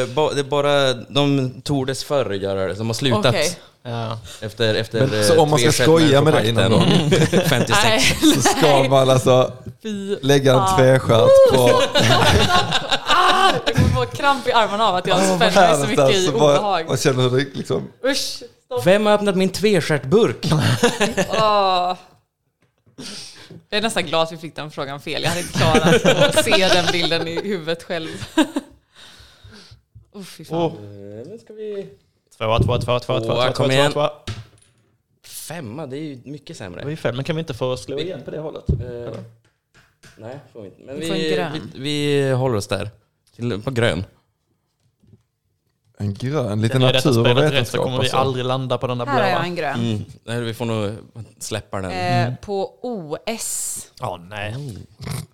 S5: eh, ba, det är bara de tordes förr göra det, de har slutat
S4: Okej.
S3: Ja.
S5: efter, efter
S2: Men,
S5: eh,
S2: så om man ska
S5: tvestjärt
S2: skoja med dig
S5: människopakten.
S2: någon gång?
S5: 56.
S4: Nej,
S2: så ska man alltså
S4: fy.
S2: lägga en
S4: fan.
S2: tvestjärt på...
S4: Ah, jag kommer få kramp i armarna av att jag spänner mig så mycket i
S2: Alltså, bara-
S4: obehag.
S2: Man känner hur det liksom...
S4: Usch! Stopp.
S5: Vem har öppnat min tvestjärtburk?
S4: Åh. Jag är nästan glad att vi fick den frågan fel. Jag hade inte klarat att se den bilden i huvudet själv. Oh, fy fan.
S3: Oh.
S5: Nu ska vi...
S3: Tvåa, tvåa, tvåa, tvåa, tvåa, tvåa, tvåa,
S5: kom
S3: tvåa,
S5: igen.
S3: tvåa.
S5: Femma, det är ju mycket sämre.
S3: Det var ju fem, men kan vi inte få slå igen på det hållet?
S5: Eh, nej, får vi inte. Men
S4: Vi
S5: vi,
S4: får en grön.
S5: vi, vi håller oss där. Till, på grön.
S2: En grön, lite
S3: Gör detta
S2: natur och
S3: spelet rätt så
S2: vetenskap.
S3: kommer vi
S2: alltså.
S3: aldrig landa på den där
S4: Här har jag
S3: blåa.
S4: en grön.
S5: Mm. Nej, vi får nog släppa den.
S4: Eh, på OS.
S3: Ja, nej.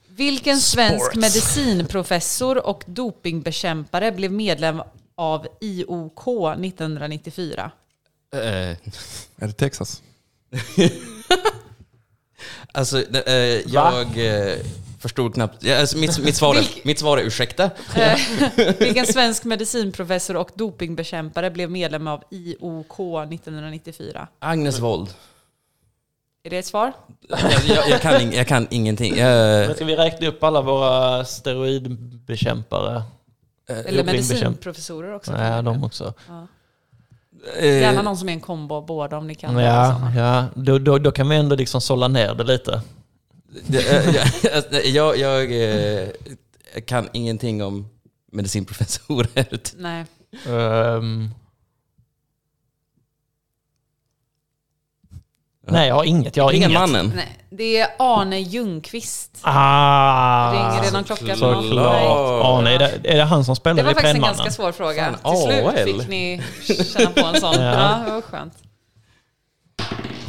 S4: Vilken svensk
S3: Sports.
S4: medicinprofessor och dopingbekämpare blev medlem av IOK 1994?
S5: Eh,
S2: Är det Texas?
S5: alltså, det- eh, jag eh, förstod knappt. Ja, alltså, mitt, mitt, svar
S4: Vilk-
S5: är, mitt svar är ursäkta.
S4: Eh, Vilken svensk medicinprofessor och dopingbekämpare blev medlem av IOK 1994?
S5: Agnes Wold.
S4: Är det ett svar?
S5: Jag, jag, jag, kan, ing- jag kan ingenting. Eh,
S3: Men ska vi räkna upp alla våra steroidbekämpare?
S4: Eller
S3: dopingbekämp-
S4: medicinprofessorer också?
S3: Nej, de också.
S5: eh,
S4: Gärna någon som är en kombo av båda om ni kan.
S3: Ja, ja. Då, då, då kan vi ändå liksom sålla ner det lite.
S5: Eh, jag jag, jag eh, kan ingenting om medicinprofessorer.
S4: Nej.
S3: Ehm. Nej, jag har inget. Jag har
S5: Ingen
S3: inget.
S5: mannen.
S4: Nej. Det är Arne Ljungqvist.
S3: Ah!
S4: Ringer det någon klocka? eller någon-
S5: Såklart.
S3: Ja, nej, är, det, är det han som
S4: Det
S3: spelar
S4: var
S3: i
S4: faktiskt en
S3: Pennmannen?
S4: ganska svår fråga.
S5: Fan,
S4: Till slut
S5: AOL.
S4: fick ni känna på en sån.
S3: Ja.
S4: Ja, det var skönt.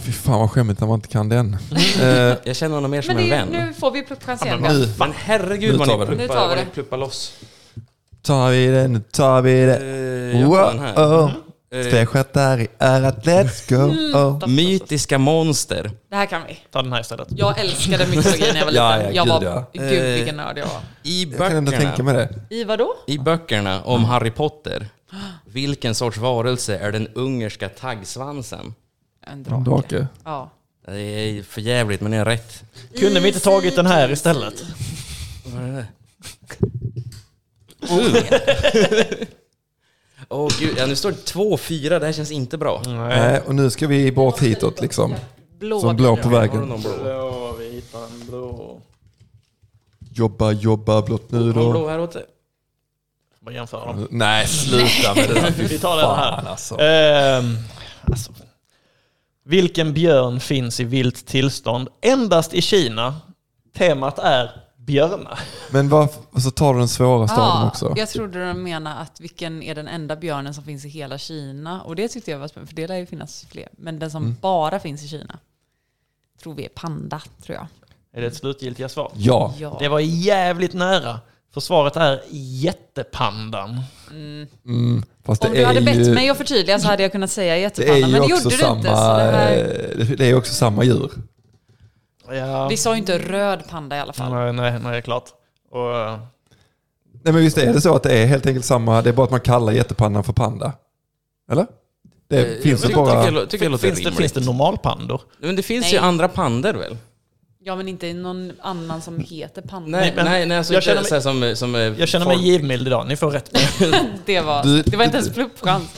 S2: Fy fan vad skämmigt när man inte kan den. Eh,
S5: Jag känner honom mer som
S4: Men det, är-
S5: en vän.
S4: nu får vi pluppchans igen.
S2: nu
S5: Men herregud
S2: Nu
S5: vad
S2: tar vi det.
S5: ni
S4: Nu tar vi
S5: pluppar, vad
S4: det.
S5: ni pluppar loss.
S2: tar vi det, nu tar vi det.
S3: Eh,
S5: Uh,
S2: Wow,
S3: Mm.
S2: Tvestjärtar i örat, let's
S4: Mm.
S2: go. Oh.
S5: Mytiska monster.
S4: Det här kan vi.
S3: Ta den här istället.
S4: Jag älskade mytologi när jag var liten.
S2: Ja, ja,
S4: jag
S2: gud,
S4: var,
S2: ja.
S4: gud
S5: Eh.
S4: vilken nörd jag var.
S5: I
S2: Jag kan ändå tänka mig
S5: böckerna,
S2: det.
S4: I vadå?
S5: I böckerna om Harry Potter. Vilken sorts varelse är den ungerska taggsvansen?
S4: En
S2: En drake.
S4: Ja.
S5: Det är för jävligt men jag är rätt.
S3: Kunde vi inte tagit den här istället?
S5: Vad är det? Åh gud, ja, nu står det 2-4. Det här känns inte bra.
S2: Nej, Eh, och nu ska vi bort hitåt liksom.
S4: Blå.
S2: Som blå på
S5: Har du
S2: vägen.
S5: någon blå?
S3: Blå, vita, blå.
S2: Jobba, jobba blått nu
S5: Har du
S2: då.
S5: blå här åt dig?
S3: Bara jämföra dem.
S2: Nej, sluta med det där. Fy
S3: Vi tar den
S2: fan
S3: här.
S2: alltså.
S3: Ehm, alltså. Vilken björn finns i vilt tillstånd endast i Kina? Temat är björnar.
S2: Men varför så tar du den svåra staden
S4: Ja,
S2: också?
S4: jag trodde de menade att vilken är den enda björnen som finns i hela Kina. Och det tyckte jag var spännande, för det lär ju finnas fler. Men den som
S2: Mm.
S4: bara finns i Kina tror vi är panda, tror jag.
S3: Är det ett slutgiltiga svar?
S2: Ja.
S4: Ja.
S3: Det var jävligt nära. För svaret är jättepandan.
S2: Fast det
S4: Om du hade
S2: är
S4: bett
S2: ju...
S4: mig att förtydliga så hade jag kunnat säga
S2: Det är
S4: jättepanda,
S2: ju
S4: men det
S2: också
S4: gjorde du
S2: samma...
S4: inte. Så det, här,
S2: eh, Det är ju också samma djur.
S3: Ja.
S4: vi sa ju inte röd panda i alla fall.
S3: Nej, nej, nej, klart. Och, eh,
S2: Nej men visst är det så att det är helt enkelt samma, det är bara att man kallar jättepandan för panda? Eller? Det finns det
S5: Eh, Jag tycker,
S2: bara...
S5: jag, tycker jag låter
S3: finns, det,
S5: rimligt.
S3: finns det normalpandor?
S5: Men det finns
S4: Nej.
S5: ju andra pandor väl?
S4: Ja, men inte någon annan som heter panda.
S5: Nej,
S3: men
S5: nej, nej alltså
S3: jag
S5: inte
S3: känner mig-
S5: så här som, som eh,
S3: Jag känner mig
S5: folk-
S3: givmild idag, ni får rätt.
S4: Det var,
S2: Du-
S4: det var inte ens pluppchans.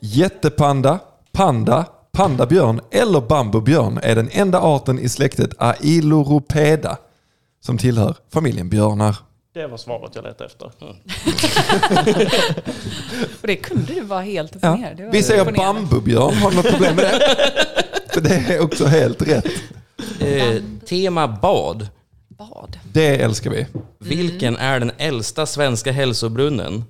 S2: Jättepanda, panda, pandabjörn eller bambubjörn är den enda arten i släktet Ailuropeda som tillhör familjen björnar.
S3: Det var svaret jag letade efter.
S4: Och det kunde du vara helt upp och
S2: Ja.
S4: ner. Det var
S2: Vi säger
S4: imponerande.
S2: bambubjörn, har du något problem med det? För det är också helt rätt.
S5: Eh, tema
S3: Mm.
S5: bad.
S4: Bad.
S2: Det älskar vi.
S5: Vilken är den äldsta svenska hälsobrunnen?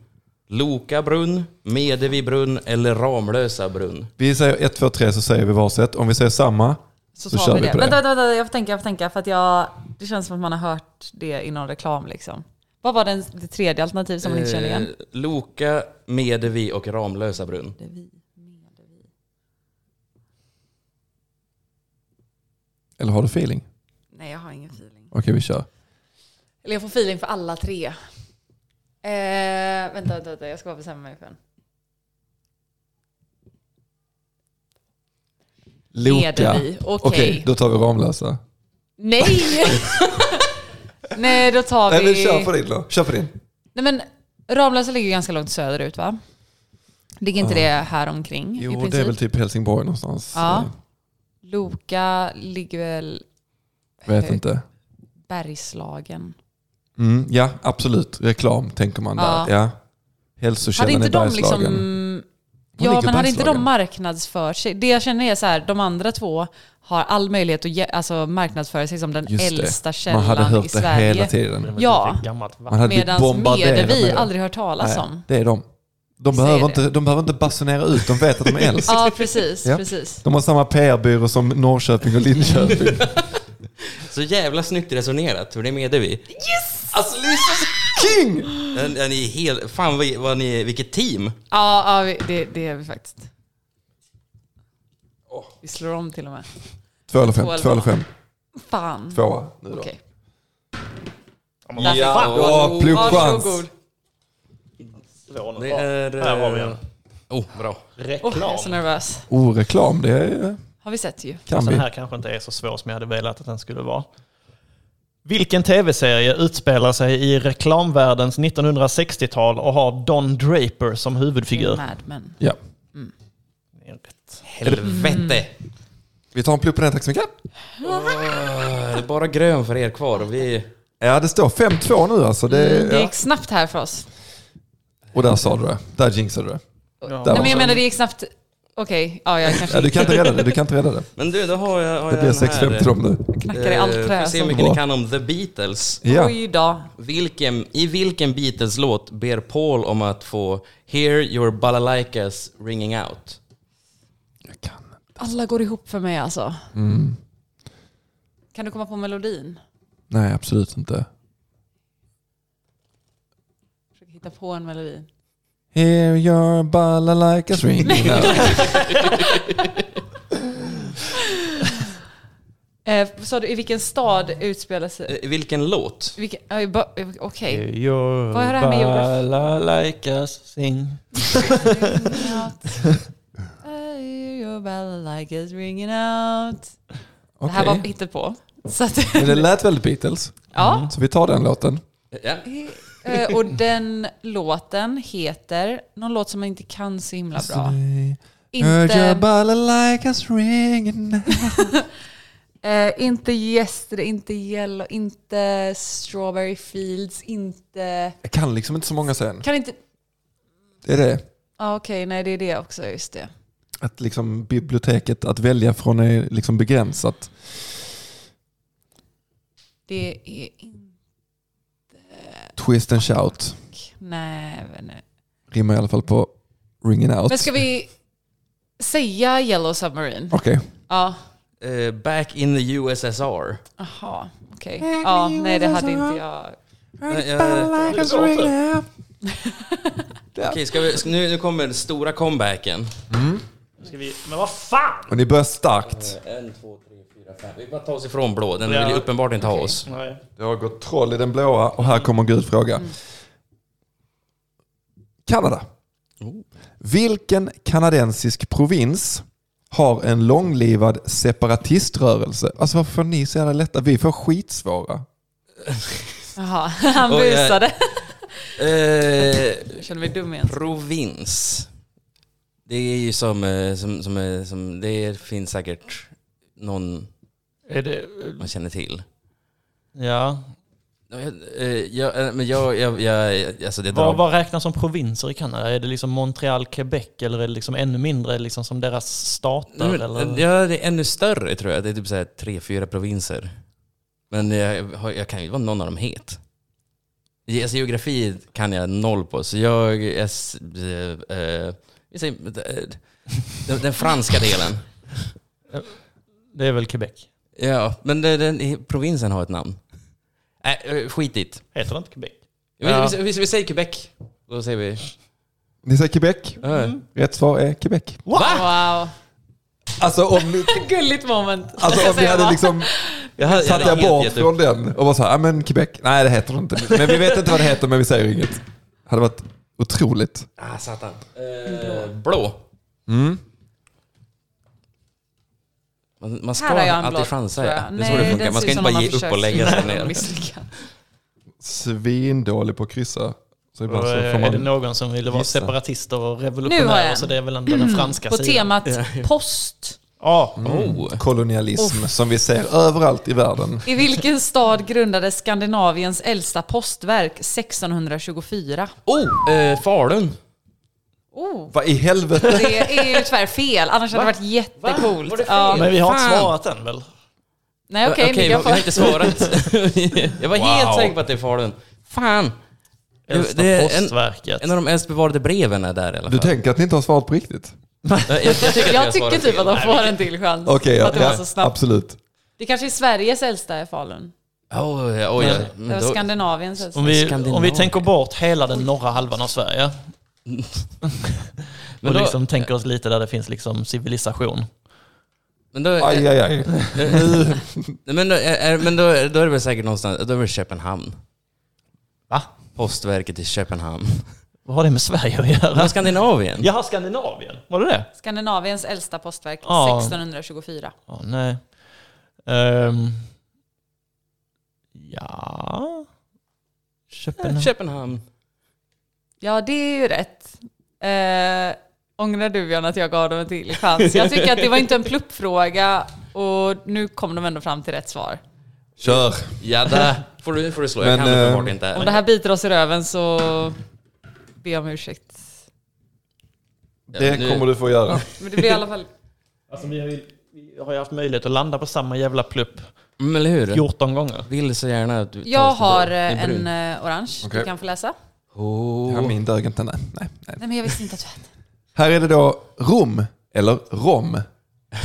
S5: Loka brunn, Medevi brunn eller Ramlösa brunn?
S2: Vi säger ett, två, tre så säger vi varsitt. Om vi säger samma så,
S4: Så, tar
S2: kör
S4: vi
S2: vi
S4: det.
S2: på det.
S4: Vänta, vänta, vänta, jag får tänka, jag får tänka. För att jag, det känns som att man har hört det i någon reklam liksom. Vad var den, det tredje alternativet som man inte känner
S5: Eh,
S4: igen?
S5: Loka, Medevi och Ramlösa brunn.
S2: Eller har du feeling?
S4: Nej, jag har ingen feeling.
S2: Okej, vi kör.
S4: Eller jag får feeling för alla tre. Eh, vänta, vänta, vänta, jag ska bara bestämma mig för en.
S2: Loka.
S4: Medevi, okej.
S2: då tar vi Ramlösa.
S4: Nej! Nej, då tar
S2: Nej,
S4: vi...
S2: men kör på din då. Kör på din.
S4: Nej men Ramlösa ligger ju ganska långt söderut va? Ligger inte det här omkring i
S2: Jo,
S4: princip?
S2: det är väl typ Helsingborg någonstans.
S4: Ja. Loka ligger väl
S2: Vet inte.
S4: Bergslagen.
S2: Mm, ja, absolut. Reklam tänker man där.
S4: Ja.
S2: Ja.
S4: Hade
S2: Hälsokällan
S4: inte
S2: i
S4: de
S2: Bergslagen.
S4: liksom...
S2: Var
S4: Ja,
S2: ligger
S4: men hade inte de
S2: Bergslagen?
S4: marknadsfört sig? Det jag känner är så här, de andra två har all möjlighet att ge, alltså, marknadsföra sig som den
S2: Just det.
S4: äldsta
S2: Man
S4: källan
S2: hade
S4: i
S2: hört det
S4: Sverige.
S2: hela tiden.
S4: Ja.
S3: Gammalt vatten.
S2: Man hade blivit
S4: Medan
S2: bombarderad
S4: Medevi
S2: med det.
S4: aldrig hört talas
S2: Nej,
S4: om.
S2: det är de. De
S4: Säger
S2: behöver,
S4: det.
S2: inte, de behöver inte basunera ut, de vet att de är äldst.
S4: Ja, precis.
S2: Ja.
S4: precis.
S2: De har samma PR-byrå som Norrköping och
S4: Mm.
S2: Linköping.
S5: Så jävla snyggt resonerat, hur det medger vi. Yes! Alltså lyssna så...
S2: King!
S5: Ja, ja, Ni är helt... Fan vad, vad ni är, vilket team!
S4: Ja, ja vi- det, det är vi faktiskt. Vi slår om till och med.
S2: Två eller fem,
S4: Två eller
S2: två eller fem.
S4: Fan.
S2: Tvåa nu då.
S4: Okej.
S5: Ja,
S2: Åh, pluggchans.
S4: Varsågod.
S3: Lån.
S5: Det är...
S3: Här har vi
S5: eh,
S3: den.
S5: Oh, bra.
S4: Oh, jag är
S3: Reklam.
S4: så nervös.
S2: Oh, reklam, det är,
S4: Har vi sett ju.
S2: kan
S3: Alltså, Den
S2: vi.
S3: här kanske inte är så svår som jag hade velat att den skulle vara. Vilken tv-serie utspelar sig i reklamvärldens 1960-tal och har Don Draper som huvudfigur?
S4: Mad Men.
S2: Ja.
S4: Mm.
S5: Helvete!
S2: Vi tar en plupp på den, tack så mycket.
S5: Det är bara grön för er kvar och vi...
S2: Ja, det står 5-2 nu alltså. Det,
S4: Mm, Det
S2: ja.
S4: gick snabbt här för oss.
S2: Och där sa du det. Där jinxade du det. Där
S4: Nej, men
S2: var
S4: jag
S2: det.
S4: menar det gick snabbt. Okej, ja, jag kanske
S2: Ja, du kan inte rädda det. Du kan inte rädda det.
S5: Men du, då har jag, har
S2: Det
S5: jag
S2: blir
S5: den här.
S2: 6-5 till dem nu.
S4: knackar i allt
S5: Eh,
S4: trä.
S5: Får se hur
S4: Som...
S5: mycket ni
S2: Bra.
S5: kan om The Beatles.
S2: Ja.
S4: Oj då.
S5: Vilken, I vilken Beatles-låt ber Paul om att få “Hear your balalaikas ringing out”?
S2: Jag kan.
S4: Alla går ihop för mig alltså. Kan du komma på melodin?
S2: Nej, absolut inte.
S4: Försöker hitta på en melodi.
S2: Here your balalaikas ringing out.
S4: Eh, sa du, I vilken stad utspelar sig...
S5: Eh, Vilken låt?
S4: Vilken, ja, i ba- eh, Okej.
S3: Your
S4: Vad är det här med geografi?
S3: balalaikas sing.
S4: Ringing out. Eh, Your bell like is ringing out. Det här var
S2: Okej.
S4: hittepå. Så att,
S2: Men det lät väldigt Beatles.
S4: ja.
S2: Så vi tar den låten.
S5: Ja.
S4: Eh, Och den låten heter någon låt som man inte kan så himla bra.
S2: Heard your
S4: Inte,
S2: balalaikas ringing out.
S4: eh, inte Yesterday, inte Yellow, inte Strawberry Fields, inte...
S2: Jag kan liksom inte så många sen.
S4: Kan inte...
S2: Det är det.
S4: Ah, Okej, nej det är det också, just det.
S2: Att liksom biblioteket att välja från är liksom begränsat.
S4: Det är inte...
S2: Twist and shout
S4: Nej, men nej.
S2: rimmar i alla fall på ringing out.
S4: Men ska vi säga Yellow Submarine?
S2: Okej.
S4: Ja.
S5: Eh, back in the USSR.
S4: Jaha, okej. Ja, nej det hade inte jag.
S5: Nej, jag-
S2: Okay.
S5: Okej, ska vi, ska- nu, nu kommer den stora comebacken.
S3: Ska vi, men vad fan!
S2: Och ni börjar starkt.
S5: Eh, En, två, tre, fyra, fem. Vi bara tar oss ifrån blå, den vill ju uppenbart inte ha oss.
S3: Nej.
S2: Det har gått troll i den blåa och här kommer gudfråga.
S4: Mm.
S2: Kanada. Oh. Vilken kanadensisk provins har en långlivad separatiströrelse? Alltså varför får ni så jävla lätta? Vi får skitsvåra.
S4: Jaha, han
S5: Oj, jag-
S4: busade.
S5: Eh,
S4: Jag känner mig dum igen.
S5: provins. Det är ju som, eh, som, som, eh, som... Det finns säkert någon
S3: Är det,
S5: man känner till.
S3: ja.
S5: Eh, Jag, eh, men jag, jag, jag, alltså det drar...
S3: Vad, vad räknas som provinser i Kanada? Är det liksom Montreal, Quebec eller är det liksom ännu mindre liksom som deras stater?
S5: Nej, men,
S3: eller?
S5: Ja, det är ännu större tror jag. Det är typ så här tre, fyra provinser. Men jag, har- jag kan ju vara någon av dem het. Ge- Alltså, geografi kan jag noll på, så jag... jag s- eh, eh, vi säger, eh, den, den franska delen.
S3: Det är väl Quebec?
S5: Ja, men den, den, provinsen har ett namn. Äh, eh, skitigt.
S3: Heter det inte Quebec?
S5: Vi,
S3: Ja.
S5: vi, vi, vi säger Quebec. Då säger vi...
S2: Ni säger Quebec?
S5: eh,
S2: Rätt svar är Quebec.
S5: Va?
S4: Wow.
S2: Alltså om, ni,
S4: Gulligt moment.
S2: alltså om vi hade liksom
S5: Jag hade- jag
S2: satt
S5: hade
S2: jag
S5: helt
S2: bort
S5: gett upp.
S2: från den och var så här, "Ah, men Quebec, nej det heter det inte. Men vi vet inte vad det heter men vi säger inget. hade varit otroligt.
S5: Ah, satan. Eh, blå.
S3: Mm.
S5: Man, man ska
S4: Här har jag en
S5: alltid
S4: blå,
S5: chansa.
S4: tror
S5: Ja.
S4: jag.
S5: Det är
S4: Nej,
S5: så det
S4: den
S5: funkar.
S4: ser
S5: Man
S4: ut
S5: ska inte
S4: som
S5: bara
S4: man
S5: ge
S4: har
S5: upp och lägga sig
S4: försökt
S5: ner.
S4: misslyckad.
S2: Svindålig på att kryssa. Så ibland
S3: Och,
S2: så
S3: eh,
S2: får
S3: är det
S2: man...
S3: någon som ville vara
S2: gissa.
S3: separatister och
S4: Nu har jag
S3: revolutionärer
S4: en. Mm.
S3: så det är väl ändå den franska
S4: På
S3: sidan.
S4: temat post
S3: Ja,
S5: Oh.
S2: mm, Kolonialism som vi ser överallt i världen.
S4: I vilken stad grundades Skandinaviens äldsta postverk 1624?
S5: Oh, eh, Falun.
S4: Oh.
S2: Vad i helvete?
S4: Det är ju tyvärr fel, annars hade det varit jättecoolt.
S5: Var det fel?
S4: Ja.
S3: men vi har inte
S5: Fan.
S3: svarat än väl?
S4: Nej okej,
S5: Okej,
S4: okay,
S5: jag har inte svarat. jag var helt säker på att det är Falun. Fan!
S3: Äldsta
S5: det är en-
S3: postverket.
S5: En av de äldst bevarade breven är där i alla
S2: Du
S5: fall.
S2: tänker att ni inte har svarat på riktigt?
S5: Eh, jag, jag tycker, att
S4: Jag tycker
S5: svarar
S4: typ
S5: fel.
S4: att de får en till chans.
S2: Okej,
S4: för att det var
S2: ja,
S4: så
S2: ja,
S4: snabbt.
S2: absolut.
S4: Det kanske är Sveriges äldsta i Falun.
S5: Oj, oj, oj. Men
S4: Det var
S5: då-
S4: Skandinaviens äldsta.
S3: om, vi,
S5: Skandinavien.
S3: om vi tänker bort hela den norra halvan av Sverige
S5: Men
S3: och
S5: då-
S3: liksom tänker oss lite där det finns liksom civilisation.
S5: Men då,
S2: Aj, aj, aj.
S5: Nej, Men, då, är, är- men då, då är det väl säkert någonstans, då är det väl Köpenhamn.
S3: Va?
S5: Postverket i Köpenhamn.
S3: Vad har det med Sverige att göra?
S5: Från Skandinavien?
S3: Jaha, Skandinavien? Var det det?
S4: Skandinaviens äldsta postverk
S3: Ja.
S4: 1624.
S3: Ja, nej. Ehm, ja... Köpenhamn.
S5: Köpenhamn.
S4: Ja, det är ju rätt. Eh, ångrar du Björn att jag gav dem en till chans? Jag tycker att det var inte en pluppfråga och nu kom de ändå fram till rätt svar.
S2: Kör.
S5: Ja, där får du, får du slå.
S2: Men,
S5: jag kan
S2: eh,
S5: uppenbart inte.
S4: Om det här biter oss i röven så ber jag om ursäkt.
S5: men
S2: Det
S5: nu-
S2: kommer du få göra.
S4: Men det blir i alla fall...
S3: Alltså, vi, har ju, vi har ju haft möjlighet att landa på samma jävla plupp
S5: Mm, eller hur?
S3: 14 gånger.
S5: Vill så gärna att du tar
S4: Jag
S5: oss till
S4: har
S5: början.
S4: eh,
S5: Det är
S4: en
S5: brunt.
S4: eh, orange
S2: Okej.
S4: du kan få läsa.
S5: Oh.
S2: Ja, min dög inte. Nej, nej, nej.
S4: Nej men jag visste inte att du hette...
S2: Här är det då Rom, eller Rom,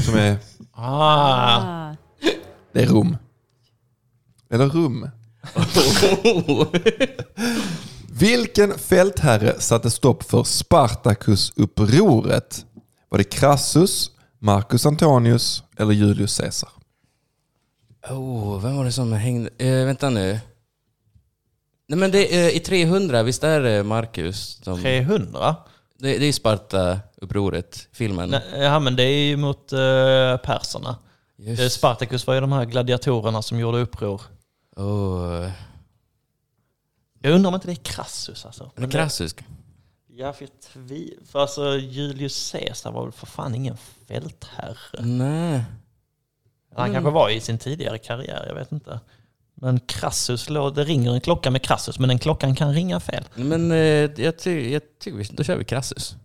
S2: som är...
S3: Ah,
S4: Ah.
S2: Det är Rom. Eller Rum.
S5: Oh.
S2: Vilken fältherre satte stopp för Spartacus-upproret? Var det Crassus, Marcus Antonius eller Julius Caesar?
S5: Oh, vem var det som hängde? Eh, vänta nu. Nej men det är eh, i 300, visst är det Marcus? Som, det,
S3: 300?
S5: det är Sparta-upproret, filmen.
S3: Nej, Ja, men det är ju mot eh, perserna.
S5: Just.
S3: Eh, Spartacus var ju de här gladiatorerna som gjorde uppror.
S5: oh.
S3: Jag undrar om inte det är Crassus alltså.
S5: Den är krassisk.
S3: Ja, för jag tvi- För alltså Julius Caesar var väl för fan ingen fältherre.
S5: Nej.
S3: Han kanske var i sin tidigare karriär, jag vet inte. Men Crassus, lå- det ringer en klocka med Crassus, men den klockan kan ringa fel.
S5: Men eh, jag tycker, jag ty, då kör vi Crassus.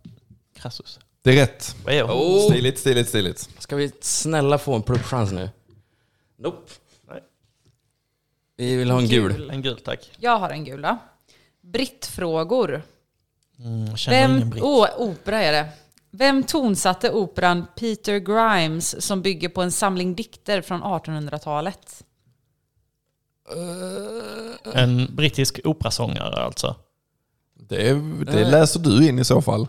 S3: Crassus.
S2: Det är rätt.
S3: Vad är hon?
S5: Oh.
S2: Stiligt, stiligt, stiligt.
S5: Ska vi snälla få en pluppchans nu? Nope.
S3: Nej.
S5: Vi vill ha en gul.
S3: En gul tack.
S4: Jag har en gul då. Brittfrågor.
S3: Mm, känner ingen
S4: Vem,
S3: britt.
S4: åh, opera är det. Vem tonsatte operan Peter Grimes som bygger på en samling dikter från 1800-talet?
S5: Eh,
S3: En brittisk operasångare alltså.
S2: Det, det läser du in i så fall.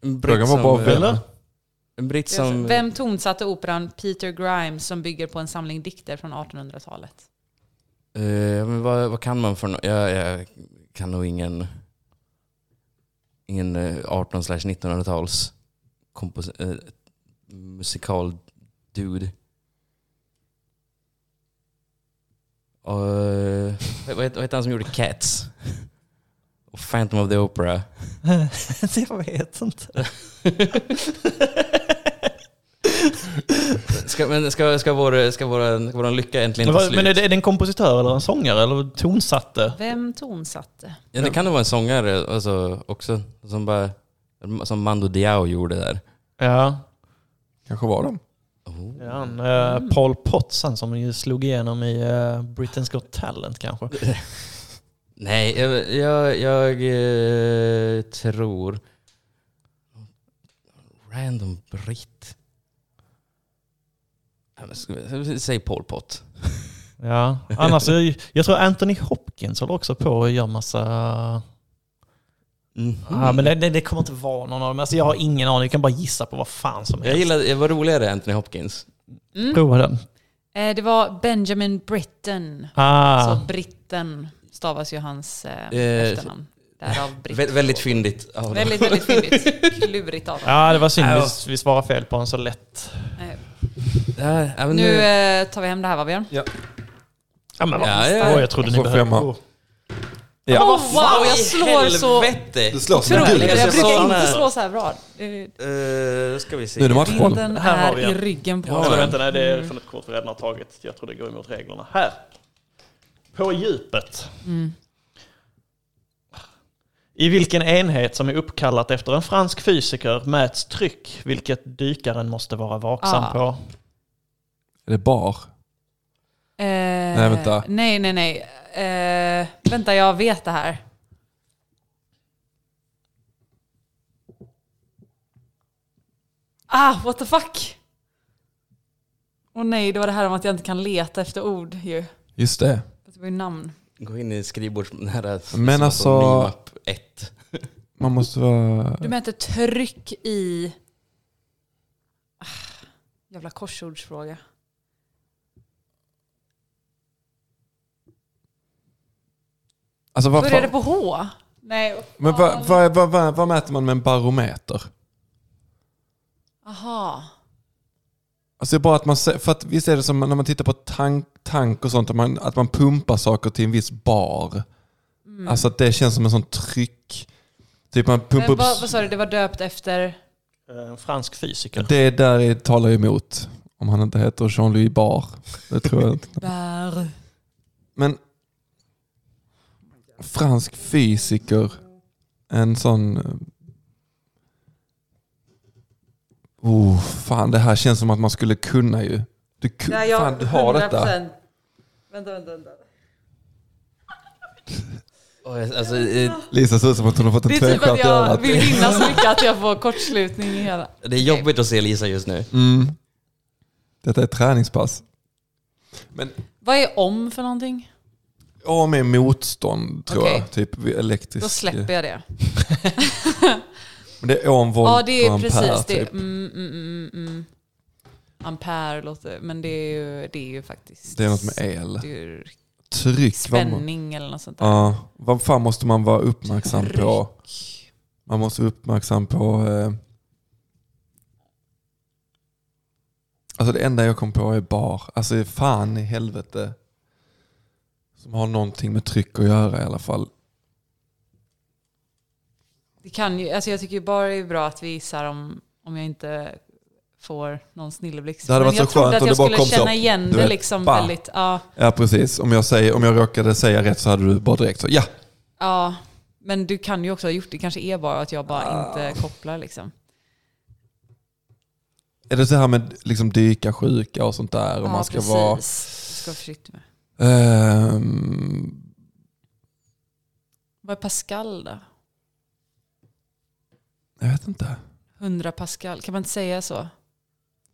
S5: En britt
S2: Frågan var
S5: som,
S2: bara vem.
S3: Eller?
S5: En britt som...
S4: alltså- Vem tonsatte operan Peter Grimes som bygger på en samling dikter från 1800-talet?
S5: Eh, men vad, vad kan man för no- jag, jag kan nog ingen... Ingen eh, 18 1900-tals kompos- eh, musikal dude. Eh, vad, heter- vad heter han som gjorde Cats? Och Phantom of the Opera.
S3: jag vet inte.
S5: Ska, men ska, ska, vår, ska, vår, ska vår lycka äntligen
S3: Men,
S5: ta
S3: vad-
S5: slut?
S3: men är, det, är det en kompositör eller en sångare eller tonsatte?
S4: Vem tonsatte?
S5: ja, det kan nog vara en sångare alltså, också, som, bara, som Mando Diao gjorde där.
S3: Ja.
S2: Kanske var de.
S3: Det är han, eh, Paul Potson som ju slog igenom i eh, Britain's Got Talent kanske.
S5: Nej, jag, jag, jag eh, tror... Random britt. Ja, men ska- Säg Pol Pot.
S3: Ja. Annars, är- jag tror Anthony Hopkins håller också på och gör massa...
S4: Mhm.
S3: Ah, men det, det, det kommer inte vara någon av dem. Alltså, jag har ingen aning, jag kan bara gissa på vad fan som
S5: Jag
S3: helst.
S5: gillade, det var roligare Anthony Hopkins.
S3: Prova den.
S4: Eh, det var Benjamin Britten.
S3: Ah.
S4: Så Britten stavas ju hans eh,
S5: Eh,
S4: efternamn. Därav Britt.
S5: Vä- väldigt fyndigt. av dem.
S4: Väldigt, väldigt fyndigt. Klurigt av honom.
S3: Äh, Ja, det var synd.
S5: Ja.
S3: Vi, vi svarade fel på en så lätt.
S4: Eh,
S5: Ja, ja, men
S4: Nu eh, tar vi hem det här va Björn?
S3: Ja, men vad
S5: Ja, ja,
S3: fan.
S5: ja.
S3: Åh, jag trodde Äh. ni
S2: Så
S3: behövde...
S2: femma.
S3: Åh.
S2: Ja.
S4: Åh wow, jag slår så
S2: Du slår som en
S5: Tror
S2: gud.
S5: det.
S4: otroligt. Jag brukar
S5: Sån
S4: inte
S5: här.
S4: slå så här bra. Eh,
S5: Uh, ska vi se.
S2: Nu är det matchboll.
S4: Vinden
S3: Här har
S4: är
S3: vi en.
S4: i ryggen på
S3: Eller
S4: oss.
S3: vänta, nej det är från ett kort vi redan har tagit. Jag tror det går emot reglerna. Här. På djupet. I vilken enhet som är uppkallat efter en fransk fysiker mäts tryck, vilket dykaren måste vara vaksam
S4: Ah.
S3: på.
S2: Är det bar?
S4: Eh,
S2: Nej, vänta.
S4: Nej, nej, nej. Eh, vänta, jag vet det här. Ah, what the fuck? Åh nej, det var det här om att jag inte kan leta efter ord ju.
S2: Just det.
S4: Det var ju namn.
S5: Gå in i skrivbords... Nära,
S2: Men alltså-
S5: Minimap 1.
S2: Man måste vara...
S4: Du mäter tryck i... Ah, Jävla korsordsfråga.
S2: Alltså, vad,
S4: Börjar det
S2: fan-
S4: på H? Nej.
S2: men vad, vad, vad, vad, vad mäter man med en barometer?
S4: Aha.
S2: Alltså det är bara att man, se- för att visst är det som när man tittar på tank, tank och sånt, att man, att man pumpar saker till en viss bar.
S4: Mm.
S2: Alltså att det känns som en sån tryck. Typ man pumpar
S4: Men,
S2: upp...
S4: vad, vad sa du, det var döpt efter...
S3: Eh, En fransk fysiker.
S2: Det där är- talar ju emot. Om han inte heter Jean-Louis Bar. Det tror jag inte.
S4: Bär.
S2: Men fransk fysiker, en sån... eh, Oh, fan, det här känns som att man skulle kunna ju. Du, ku- fan, du har detta.
S4: Vänta, vänta, vänta.
S5: Oj, Alltså, eh,
S2: Lisa ser ut som att hon har fått
S4: Det
S2: en
S4: är typ att
S2: tvärstjärt i
S4: jag
S2: örat.
S4: vill vinna så mycket att jag får kortslutning i hela...
S5: det är jobbigt att se Lisa just nu.
S2: Mm. Detta är ett träningspass. Men
S4: Vad är om för någonting?
S2: A med motstånd tror
S4: Okej.
S2: jag. Typ vid elektrisk.
S4: Då släpper jag det.
S2: Men det är om volt
S4: Ja, det är
S2: och
S4: precis det.
S2: Typ.
S4: Mm, mm, mm, mm. Ampere låter... Men det är ju, det är ju faktiskt...
S2: Det är något med el.
S4: det är ju
S2: Tryck. Vad,
S4: Spänning eller något sånt där.
S2: ja, vad fan måste man vara uppmärksam på?
S4: Tryck.
S2: Man måste vara uppmärksam på... Eh, alltså det enda jag kom på är bar. Alltså fan i helvete. Som har någonting med tryck att göra i alla fall.
S4: Det kan ju, alltså jag tycker ju bara det är bra att vi gissar om, om jag inte får någon snilleblixt.
S2: Det hade
S4: Men
S2: varit
S4: jag
S2: så
S4: trodde
S2: skönt
S4: att
S2: om
S4: jag
S2: det bara
S4: skulle
S2: kom så.
S4: känna igen
S2: Du
S4: det
S2: vet,
S4: liksom
S2: bam.
S4: väldigt. Ja,
S2: Ja precis, om jag, säger, om jag råkade säga rätt så hade du bara direkt så ja.
S4: ja, men du kan ju också ha gjort det. kanske är bara att jag bara inte kopplar liksom.
S2: Är det så här med liksom dyka sjuka och sånt där? Om
S4: ja,
S2: man ska
S4: precis.
S2: vara...
S4: Du ska vara försiktig med.
S2: Ehm,
S4: Vad är Pascal då?
S2: jag vet inte.
S4: 100 Pascal, kan man inte säga så? Det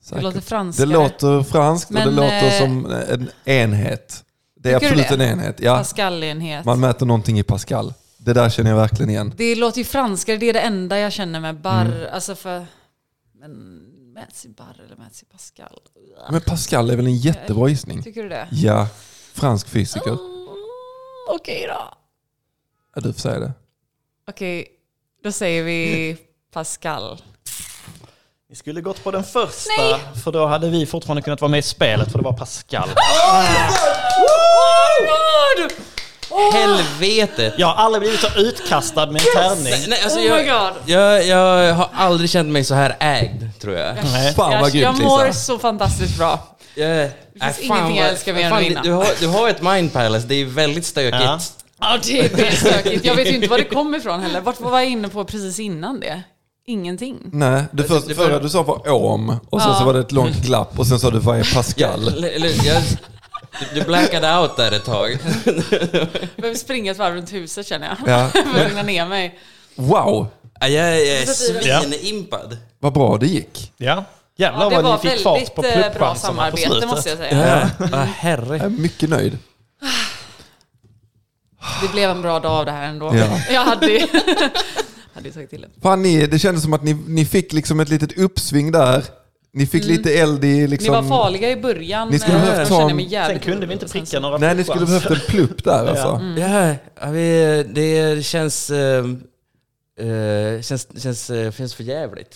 S2: Säkert.
S4: låter franskare.
S2: Det låter franskt och
S4: Men,
S2: det låter
S4: eh,
S2: som en enhet. Det är
S4: tycker du
S2: absolut en
S4: det?
S2: enhet. Ja,
S4: Pascal-enhet.
S2: man mäter någonting i Pascal. Det där känner jag verkligen igen.
S4: Det låter ju franskare, det är det enda jag känner med bar.
S2: Mm.
S4: Alltså för... Men mäts i bar eller mäts i Pascal?
S2: Men Pascal är väl en jättebra gissning?
S4: Tycker du det?
S2: Mm.
S4: Ah,
S2: Ja, fransk fysiker.
S4: Okej då.
S2: Ja, du får säga det.
S4: Okej, då säger vi Pascal.
S3: Ni skulle gått på den första, för då hade vi fortfarande kunnat vara med i spelet, för det var Pascal.
S4: Oh Ah!
S5: Helvetet!
S3: Jag har aldrig blivit så utkastad med en tärning.
S5: Nej, alltså,
S4: Oh my
S5: jag,
S4: god.
S5: jag, jag har aldrig känt mig så här ägd, tror jag.
S3: Nej.
S2: Fan vad
S4: jag,
S2: grymt
S4: jag mår
S2: Lisa.
S4: så fantastiskt bra.
S5: Jag, äh,
S4: Det finns ingenting jag älskar mer än att vinna.
S5: Du har, du har ett mind palace, det är väldigt stökigt.
S3: Ja.
S4: Ja, det är det stökigt. Jag vet ju inte var det kommer ifrån heller. Vart var jag inne på precis innan det? Ingenting.
S2: Nej, det första,
S5: det-
S2: förra du sa var om och sen så var det ett långt glapp och sen sa du vad är Pascal?
S5: Eller, eller, jag, du- du blackade out där ett tag.
S4: Jag behöver springa ett varv runt huset känner jag.
S2: Ja.
S4: Jag behöver lugna ner mig.
S2: Wow,
S5: Ja, Jag, jag är
S3: Ja.
S5: svinimpad.
S2: vad bra det gick.
S3: Ja. Jävlar
S4: Ja, det
S3: vad
S4: var
S3: ni fick fart
S4: väldigt
S3: på
S4: eh, bra
S3: pluppchanserna på
S4: samarbete
S3: slutet.
S4: måste jag säga.
S5: Ja. Ja, herre.
S2: Jag är mycket nöjd.
S4: Det blev en bra dag av det här ändå.
S2: Ja.
S4: Jag hade ju hade ju tagit till det.
S2: Fan, ni, det kändes som att ni, ni fick liksom ett litet uppsving där. Ni fick lite eld i
S4: Mm. Ni
S2: liksom...
S4: var farliga i början.
S2: Ni skulle
S4: eh,
S2: behövt
S4: jag
S2: ta en-
S4: känner mig jävligt
S3: Sen kunde vi inte
S4: orolig. Sen
S3: pricka några
S2: Nej, ni skulle
S3: pluppchanser.
S4: Mm.
S2: behövt en plupp där alltså.
S5: Ja, ja, vi, det känns... eh, eh, känns, känns, eh, känns för jävligt.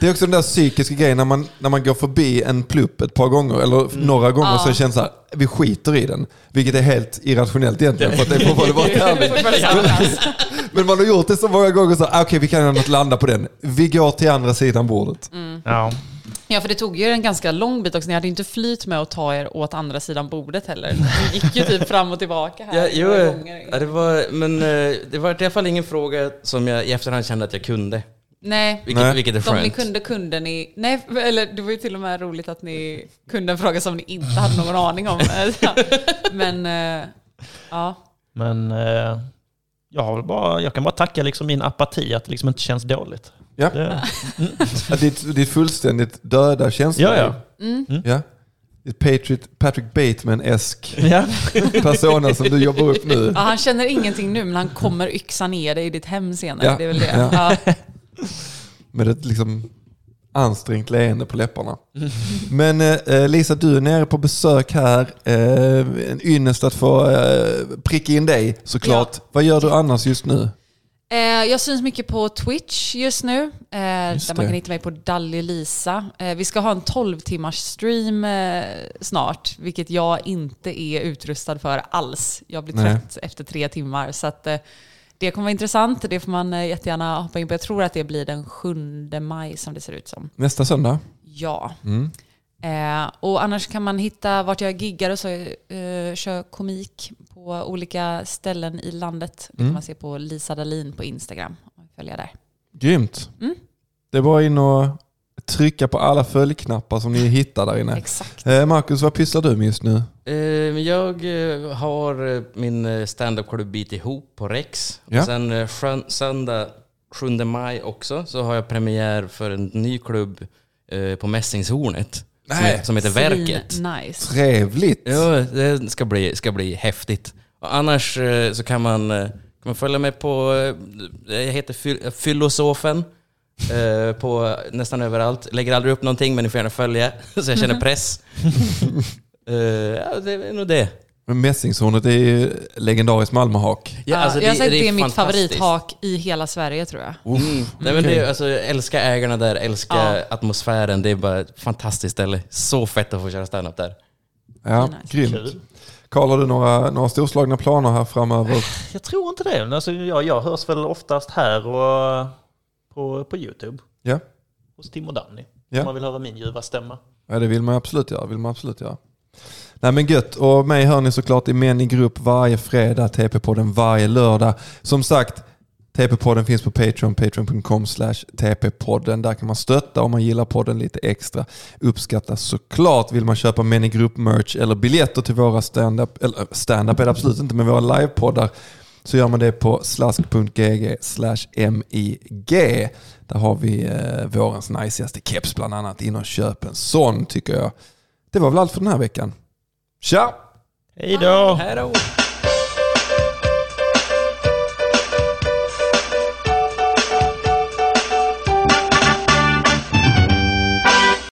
S2: Det är också den där psykiska grejen när man, när man går förbi en plupp ett par gånger eller
S3: Mm.
S2: några gånger så känns det så här, vi skiter i den. Vilket är helt irrationellt egentligen för att det är fortfarande bara tävling. Men man har gjort det så många gånger så här, "Ah, okej vi kan ändå landa på den. Vi går till andra sidan bordet.
S4: Mm.
S3: Ja.
S4: Ja, för det tog ju en ganska lång bit också. Ni hade ju inte flyt med att ta er åt andra sidan bordet heller. Ni gick ju typ fram och tillbaka här.
S5: Ja, jo,
S4: några
S5: eh,
S4: gånger.
S5: ja, det var, men eh, det var i alla fall ingen fråga som jag i efterhand kände att jag kunde.
S4: Nej.
S5: Vilket,
S2: Nej.
S5: vilket är
S4: De ni
S5: skönt.
S4: kunde kunde ni... Nej, eller det var ju till och med roligt att ni kunde en fråga som ni inte hade någon aning om. Men eh, ja,
S3: Men eh, jag, har väl bara, jag kan bara tacka liksom min apati att det liksom inte känns dåligt.
S2: Ja.
S3: Det,
S2: Ja, Ditt, ditt fullständigt döda känsla.
S3: ja, ja. Mm.
S2: ja. Ditt Patrick, Patrick Bateman-esk
S3: ja.
S2: persona som du jobbar upp nu.
S4: Ja, han känner ingenting nu, men han kommer yxa ner dig i ditt hem senare.
S2: Ja.
S4: Det är väl det.
S2: Ja.
S4: Ja.
S2: Med ett liksom ansträngt leende på läpparna. Men eh, Lisa, du är nere på besök här. Eh, en ynnest att få eh, pricka in dig såklart. Vad gör du annars just nu?
S4: Eh, jag syns mycket på Twitch just nu. Eh,
S2: Just
S4: där man
S2: det.
S4: kan hitta mig på Dally Lisa. Eh, vi ska ha en 12 timmars stream eh, snart, vilket jag inte är utrustad för alls. Jag blir
S2: Nej.
S4: trött efter tre timmar. Så att, eh, det kommer vara intressant. Det får man eh, jättegärna hoppa in på. Jag tror att det blir den 7 maj som det ser ut som.
S2: Nästa söndag?
S4: Ja. Eh, och annars kan man hitta vart jag giggar och så eh, kör komik på olika ställen i landet. Det kan man se på Lisa Dahlin på Instagram. om man vill Följa där.
S2: Grymt.
S4: Mm.
S2: Det är bara in och trycka på alla följknappar som ni hittar där inne.
S4: Exakt.
S2: Eh, Marcus, vad pysslar du med just nu?
S5: Eh, men jag eh, har eh, min eh, standup-klubb Bit ihop på Rex.
S2: Ja.
S5: Och sen eh, sjön- söndag 7 maj också så har jag premiär för en ny klubb eh, på Mässingshornet. Som,
S2: Nej.
S5: he- som heter Verket.
S4: Svin Nice.
S2: Trevligt.
S5: Ja, det ska bli, ska bli häftigt. Och annars eh, så kan man, eh, kan man följa mig på, eh, jag heter Fy- Fyllosofen. eh, På nästan överallt. Lägger aldrig upp någonting men ni får gärna följa så jag känner press. Eh, ja, det är nog det.
S2: Men Mässingshornet är ju legendariskt Malmöhak.
S5: Ja, alltså,
S4: jag har sagt det är, mitt
S5: fantastiskt.
S4: favorithak i hela Sverige tror jag.
S5: Mm. Nej, men det är, alltså, jag älskar ägarna där, älskar
S4: Ja.
S5: atmosfären. Det är bara ett fantastiskt ställe. Så fett att få köra standup där.
S2: Ja,
S4: Nice.
S2: grymt.
S3: Kul.
S2: Karl, har du några, några storslagna planer här framöver?
S3: Jag tror inte det. Men Alltså, jag, jag hörs väl oftast här och eh, på, på YouTube
S2: Ja.
S3: hos Tim och Danny.
S2: Ja.
S3: Om man vill höra min ljuva stämma.
S2: Ja, det vill man absolut göra. Vill man absolut göra. Nej men gött, och mig hör ni såklart i Män i grupp varje fredag, TP-podden varje lördag. Som sagt, TP-podden finns på Patreon, patreon.com slash TP-podden. Där kan man stötta om man gillar podden lite extra. Uppskattas såklart. Vill man köpa Män i grupp-merch eller biljetter till våra stand-up, eller äh, stand-up är det absolut inte, men våra livepoddar, så gör man det på slask.gg slash MIG. Där har vi eh, vårens najsigaste keps bland annat. In och köp en sån tycker jag. Det var väl allt för den här veckan. Tja!
S3: Hej då!
S5: Hej då!